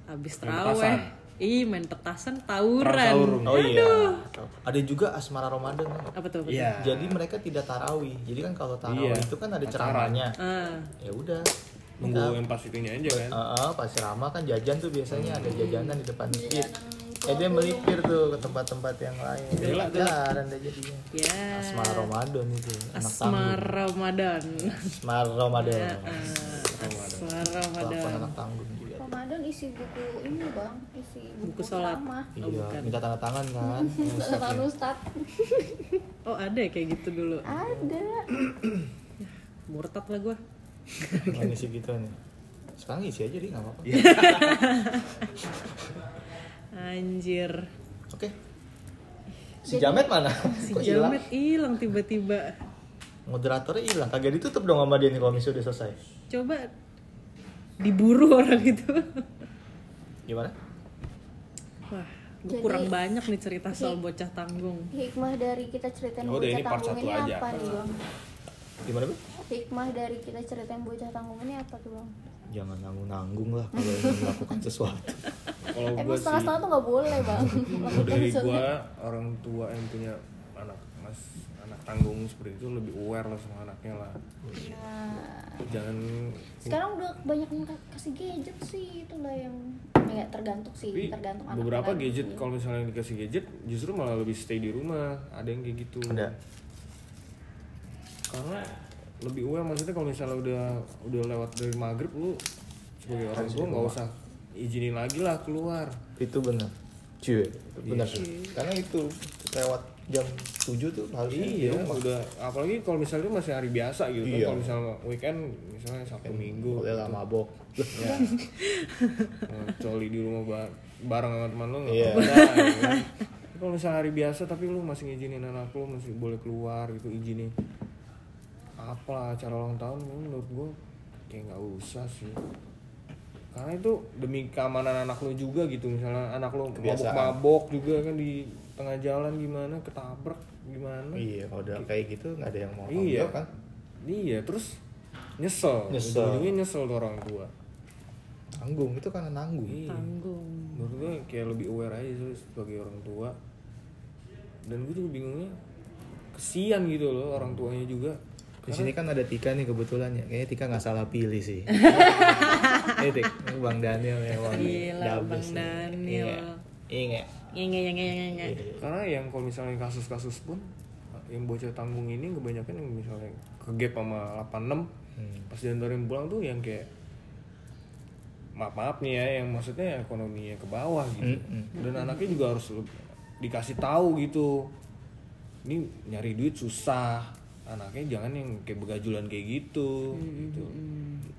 C: Habis
E: Main
C: terawih.
E: petasan.
C: Ih, main petasan tawuran.
E: Perang tawurung.
B: oh iya ada juga asmara ramadan kan?
C: Apa tuh? Apa tuh?
E: Iya.
B: jadi mereka tidak tarawih jadi kan kalau tarawih
E: Iya.
B: itu kan ada ceramahnya
C: Ah,
B: ya udah Kita-
E: Nunggu yang pas itunya aja kan.
B: Heeh, pas ceramah kan jajan tuh biasanya ada jajanan di depan masjid. Eh dia melipir tuh ke tempat-tempat yang lain. Jalan dia jadinya.
C: ya.
B: Asmar Ramadan itu. Anak Iya.
C: Asmar Ramadan.
B: Asmar
C: Iya,
B: Ramadan.
C: Asmar
B: Kelakuan
C: Ramadan.
B: anak tanggung
C: Oh,
B: juga.
D: Ramadan isi buku ini bang isi buku,
C: Buku sholat.
D: ceramah.
C: Oh,
B: Iya,
C: bukan.
B: minta tanda tangan kan.
E: ya?
D: Ustaz Ustaz
C: Oh, ada ya kayak gitu dulu.
D: ada
C: Murtad lah gue.
B: Nah, ngisi gitu nih. Sekarang isi aja dia nggak apa-apa.
C: Iya. Anjir.
B: Oke. Si Jamet mana?
C: Si
B: Kok hilang?
C: Jamet hilang tiba-tiba.
B: Moderatornya hilang. Kagak ditutup dong sama dia nih kalau misalnya udah selesai.
C: Coba diburu orang itu.
B: Gimana?
C: Wah, gue
D: Jadi-
C: kurang banyak nih cerita soal bocah
B: Iya.
C: tanggung.
D: hikmah dari kita ceritain
E: Ya udah,
D: bocah
E: ini part
D: tanggung
E: satu
D: ini
E: aja.
D: apa nih bang
B: Gimana, Bu?
D: hikmah dari kita ceritain bocah tanggung ini apa tuh bang
B: Jangan nanggung-nanggung lah kalau ingin melakukan sesuatu.
E: Kalau
D: emang setengah
E: gua sih
D: setengah tuh nggak boleh bang
E: kalau dari gua orang tua yang punya anak mas anak tanggung seperti itu lebih aware lah sama anaknya lah.
D: nah
E: Jangan
D: sekarang udah banyak yang ka- kasih gadget sih itulah yang ya tergantung sih
E: tapi
D: tergantung anak
E: beberapa
D: anak.
E: gadget kalau misalnya dikasih gadget justru malah lebih stay di rumah. Ada yang kayak gitu.
B: Ada.
E: karena lebih aware maksudnya kalau misalnya udah udah lewat dari maghrib lu sebagai orang tua nggak usah izinin lagi lah keluar
B: itu benar cuy benar karena itu lewat jam 7 tuh harusnya
E: iya udah apalagi kalau misalnya masih hari biasa gitu
B: Iya.
E: kan kalau misalnya weekend misalnya sabtu minggu
B: boleh lah mabok
E: ya coli di rumah ba- bareng sama teman lu nggak
B: Iya.
E: apa-apa ya kan. Tapi kalau misalnya hari biasa tapi lu masih ngizinin anak lu masih boleh keluar gitu izinin apa acara ulang tahun ya menurut gua kayak nggak usah sih karena itu demi keamanan anak lu juga gitu misalnya anak lu
B: Kebiasaan.
E: mabok-mabok juga kan di tengah jalan gimana ketabrak gimana
B: iya kalau udah kayak gitu nggak ada yang mau tanggung
E: iya
B: jawab kan
E: iya terus nyesel
B: Nyesel.
E: ujung-ujungnya nyesel tuh orang tua
B: nanggung itu karena nanggung
E: iya
C: Tanggung.
E: menurut gue kayak lebih aware aja sih sebagai orang tua dan gue juga bingungnya kesian gitu loh orang tuanya juga
B: di sini kan ada Tika nih kebetulan ya kayaknya Tika nggak salah pilih sih Eh, Tik, Bang Daniel emang
C: Gila,
B: dabes nih.
C: Bang Daniel.
B: iya nggak?
C: Ngenge ngenge ngenge ngenge.
B: Iya.
E: karena yang kalau misalnya kasus-kasus pun yang bocah tanggung ini kebanyakan yang misalnya kegep sama 86 pas diantarin pulang tuh yang kayak maaf maaf nih ya yang maksudnya ekonominya ke bawah gitu dan anaknya juga harus lu- dikasih tahu gitu ini nyari duit susah anaknya jangan yang kayak begajulan kayak gitu gitu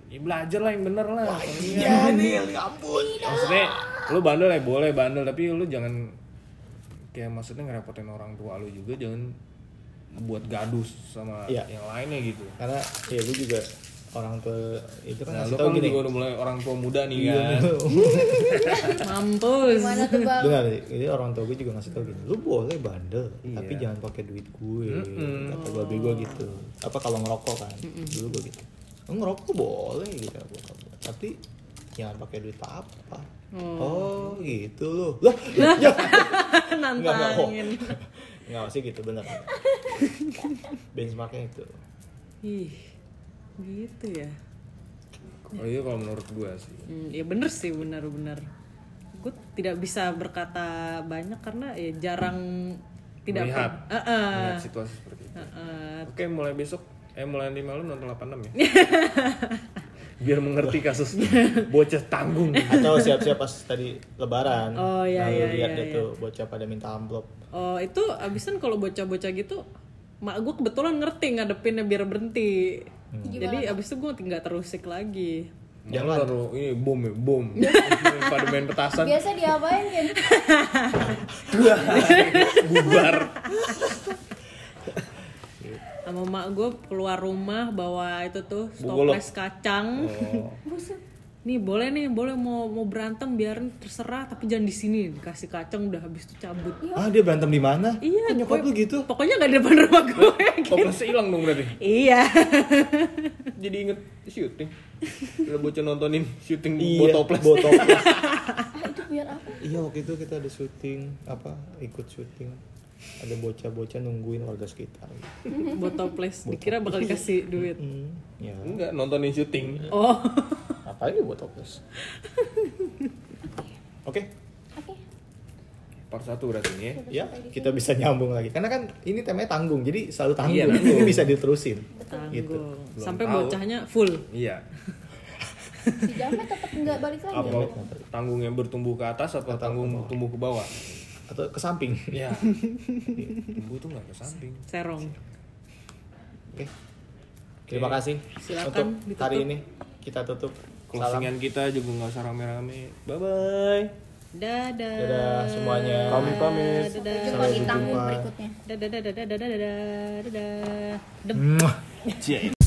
E: ya belajar lah yang bener lah iya nih ampun maksudnya lu bandel ya boleh bandel tapi lu jangan kayak maksudnya ngerepotin orang tua lu juga jangan buat gaduh sama
B: Iya.
E: yang lainnya gitu
B: karena ya gue juga orang tua itu kan
E: nah
B: ngasih
E: lu
B: tau
E: kan
B: gini
E: juga udah mulai orang tua muda nih
B: Iya,
E: kan
C: Mampus.
D: Gimana tuh bang?
B: benar jadi orang tua gue juga ngasih tau gini lu boleh bandel tapi jangan pakai duit gue kata babi gue gitu apa kalau ngerokok kan dulu gue gitu "Lu ngerokok boleh gitu kata bokap gue. tapi jangan pakai duit apa oh gitu loh lah ya Nggak, nggak, oh.
C: Nantangin.
B: nggak sih gitu bener benchmarknya itu
C: Ih, gitu ya.
E: oh iya kalau menurut gua sih
C: Hmm, ya bener sih benar-benar. Gue tidak bisa berkata banyak karena ya jarang tidak
E: Melihat.
C: pe- Heeh.
E: melihat situasi seperti itu
C: Heeh.
E: Oke, mulai besok eh mulai nanti malam nonton 86 ya. Biar mengerti kasus bocah tanggung.
B: atau siap-siap pas tadi lebaran
C: Oh, iya,
B: lalu
C: iya,
B: lihat
C: iya,
B: dia
C: iya.
B: tuh bocah pada minta amplop
C: Oh itu abisan kalau bocah-bocah gitu mak gue kebetulan ngerti ngadepinnya biar berhenti.
E: Hmm.
C: Jadi abis itu gue nggak terusik lagi.
E: Jangan taruh ini bom ya, bom. Pada main petasan
D: Biasa diapain kan?
E: bubar.
C: Sama mak gue keluar rumah bawa itu tuh
E: Bubulok.
C: stoples kacang. Nih boleh nih, boleh mau mau berantem biarin terserah tapi jangan di sini dikasih kacang udah habis itu cabut.
B: ah dia berantem di mana Kok
C: Iya,
B: nyokap
C: gue-
B: lu gitu
C: Pokoknya nggak di depan rumah gue.
E: Toplesnya hilang dong berarti.
C: iya.
E: Jadi inget syuting. Udah bocah nontonin syuting
B: Iya,
E: botoples.
B: bawa toples.
D: Itu biar apa?
B: iya waktu itu kita ada syuting apa ikut syuting ada bocah-bocah nungguin warga sekitar
C: Botoples dikira bakal dikasih duit.
B: hmm, ya
E: Enggak nontonin syuting.
C: Oh.
B: apa ini buat toples oke
D: Oke.
E: Part 1 berarti ini ya.
B: ya kita bisa nyambung lagi karena kan ini temanya tanggung jadi selalu tanggung
E: Iya, tanggung.
B: ini bisa diterusin gitu
C: Tanggung. Sampai
E: tahu.
C: bocahnya full.
E: Iya.
D: Si Jamet tetap nggak balik lagi.
E: Apa tanggung yang bertumbuh ke atas atau tanggung tumbuh ke bawah?
B: atau ke samping
E: Iya. tumbuh tuh nggak ke samping.
C: Serong.
B: oke terima kasih
C: Silakan,
B: untuk hari
C: ditutup.
B: ini kita tutup salam
E: Closingan kita juga nggak usah rame-rame. Bye bye.
C: Dadah.
B: dadah semuanya
E: Kami pamit.
D: Sampai
C: Dadah.
D: jumpa di tanggung berikutnya.
C: Dadah dadah dadah dadah dadah dadah. Dem.
B: Muah.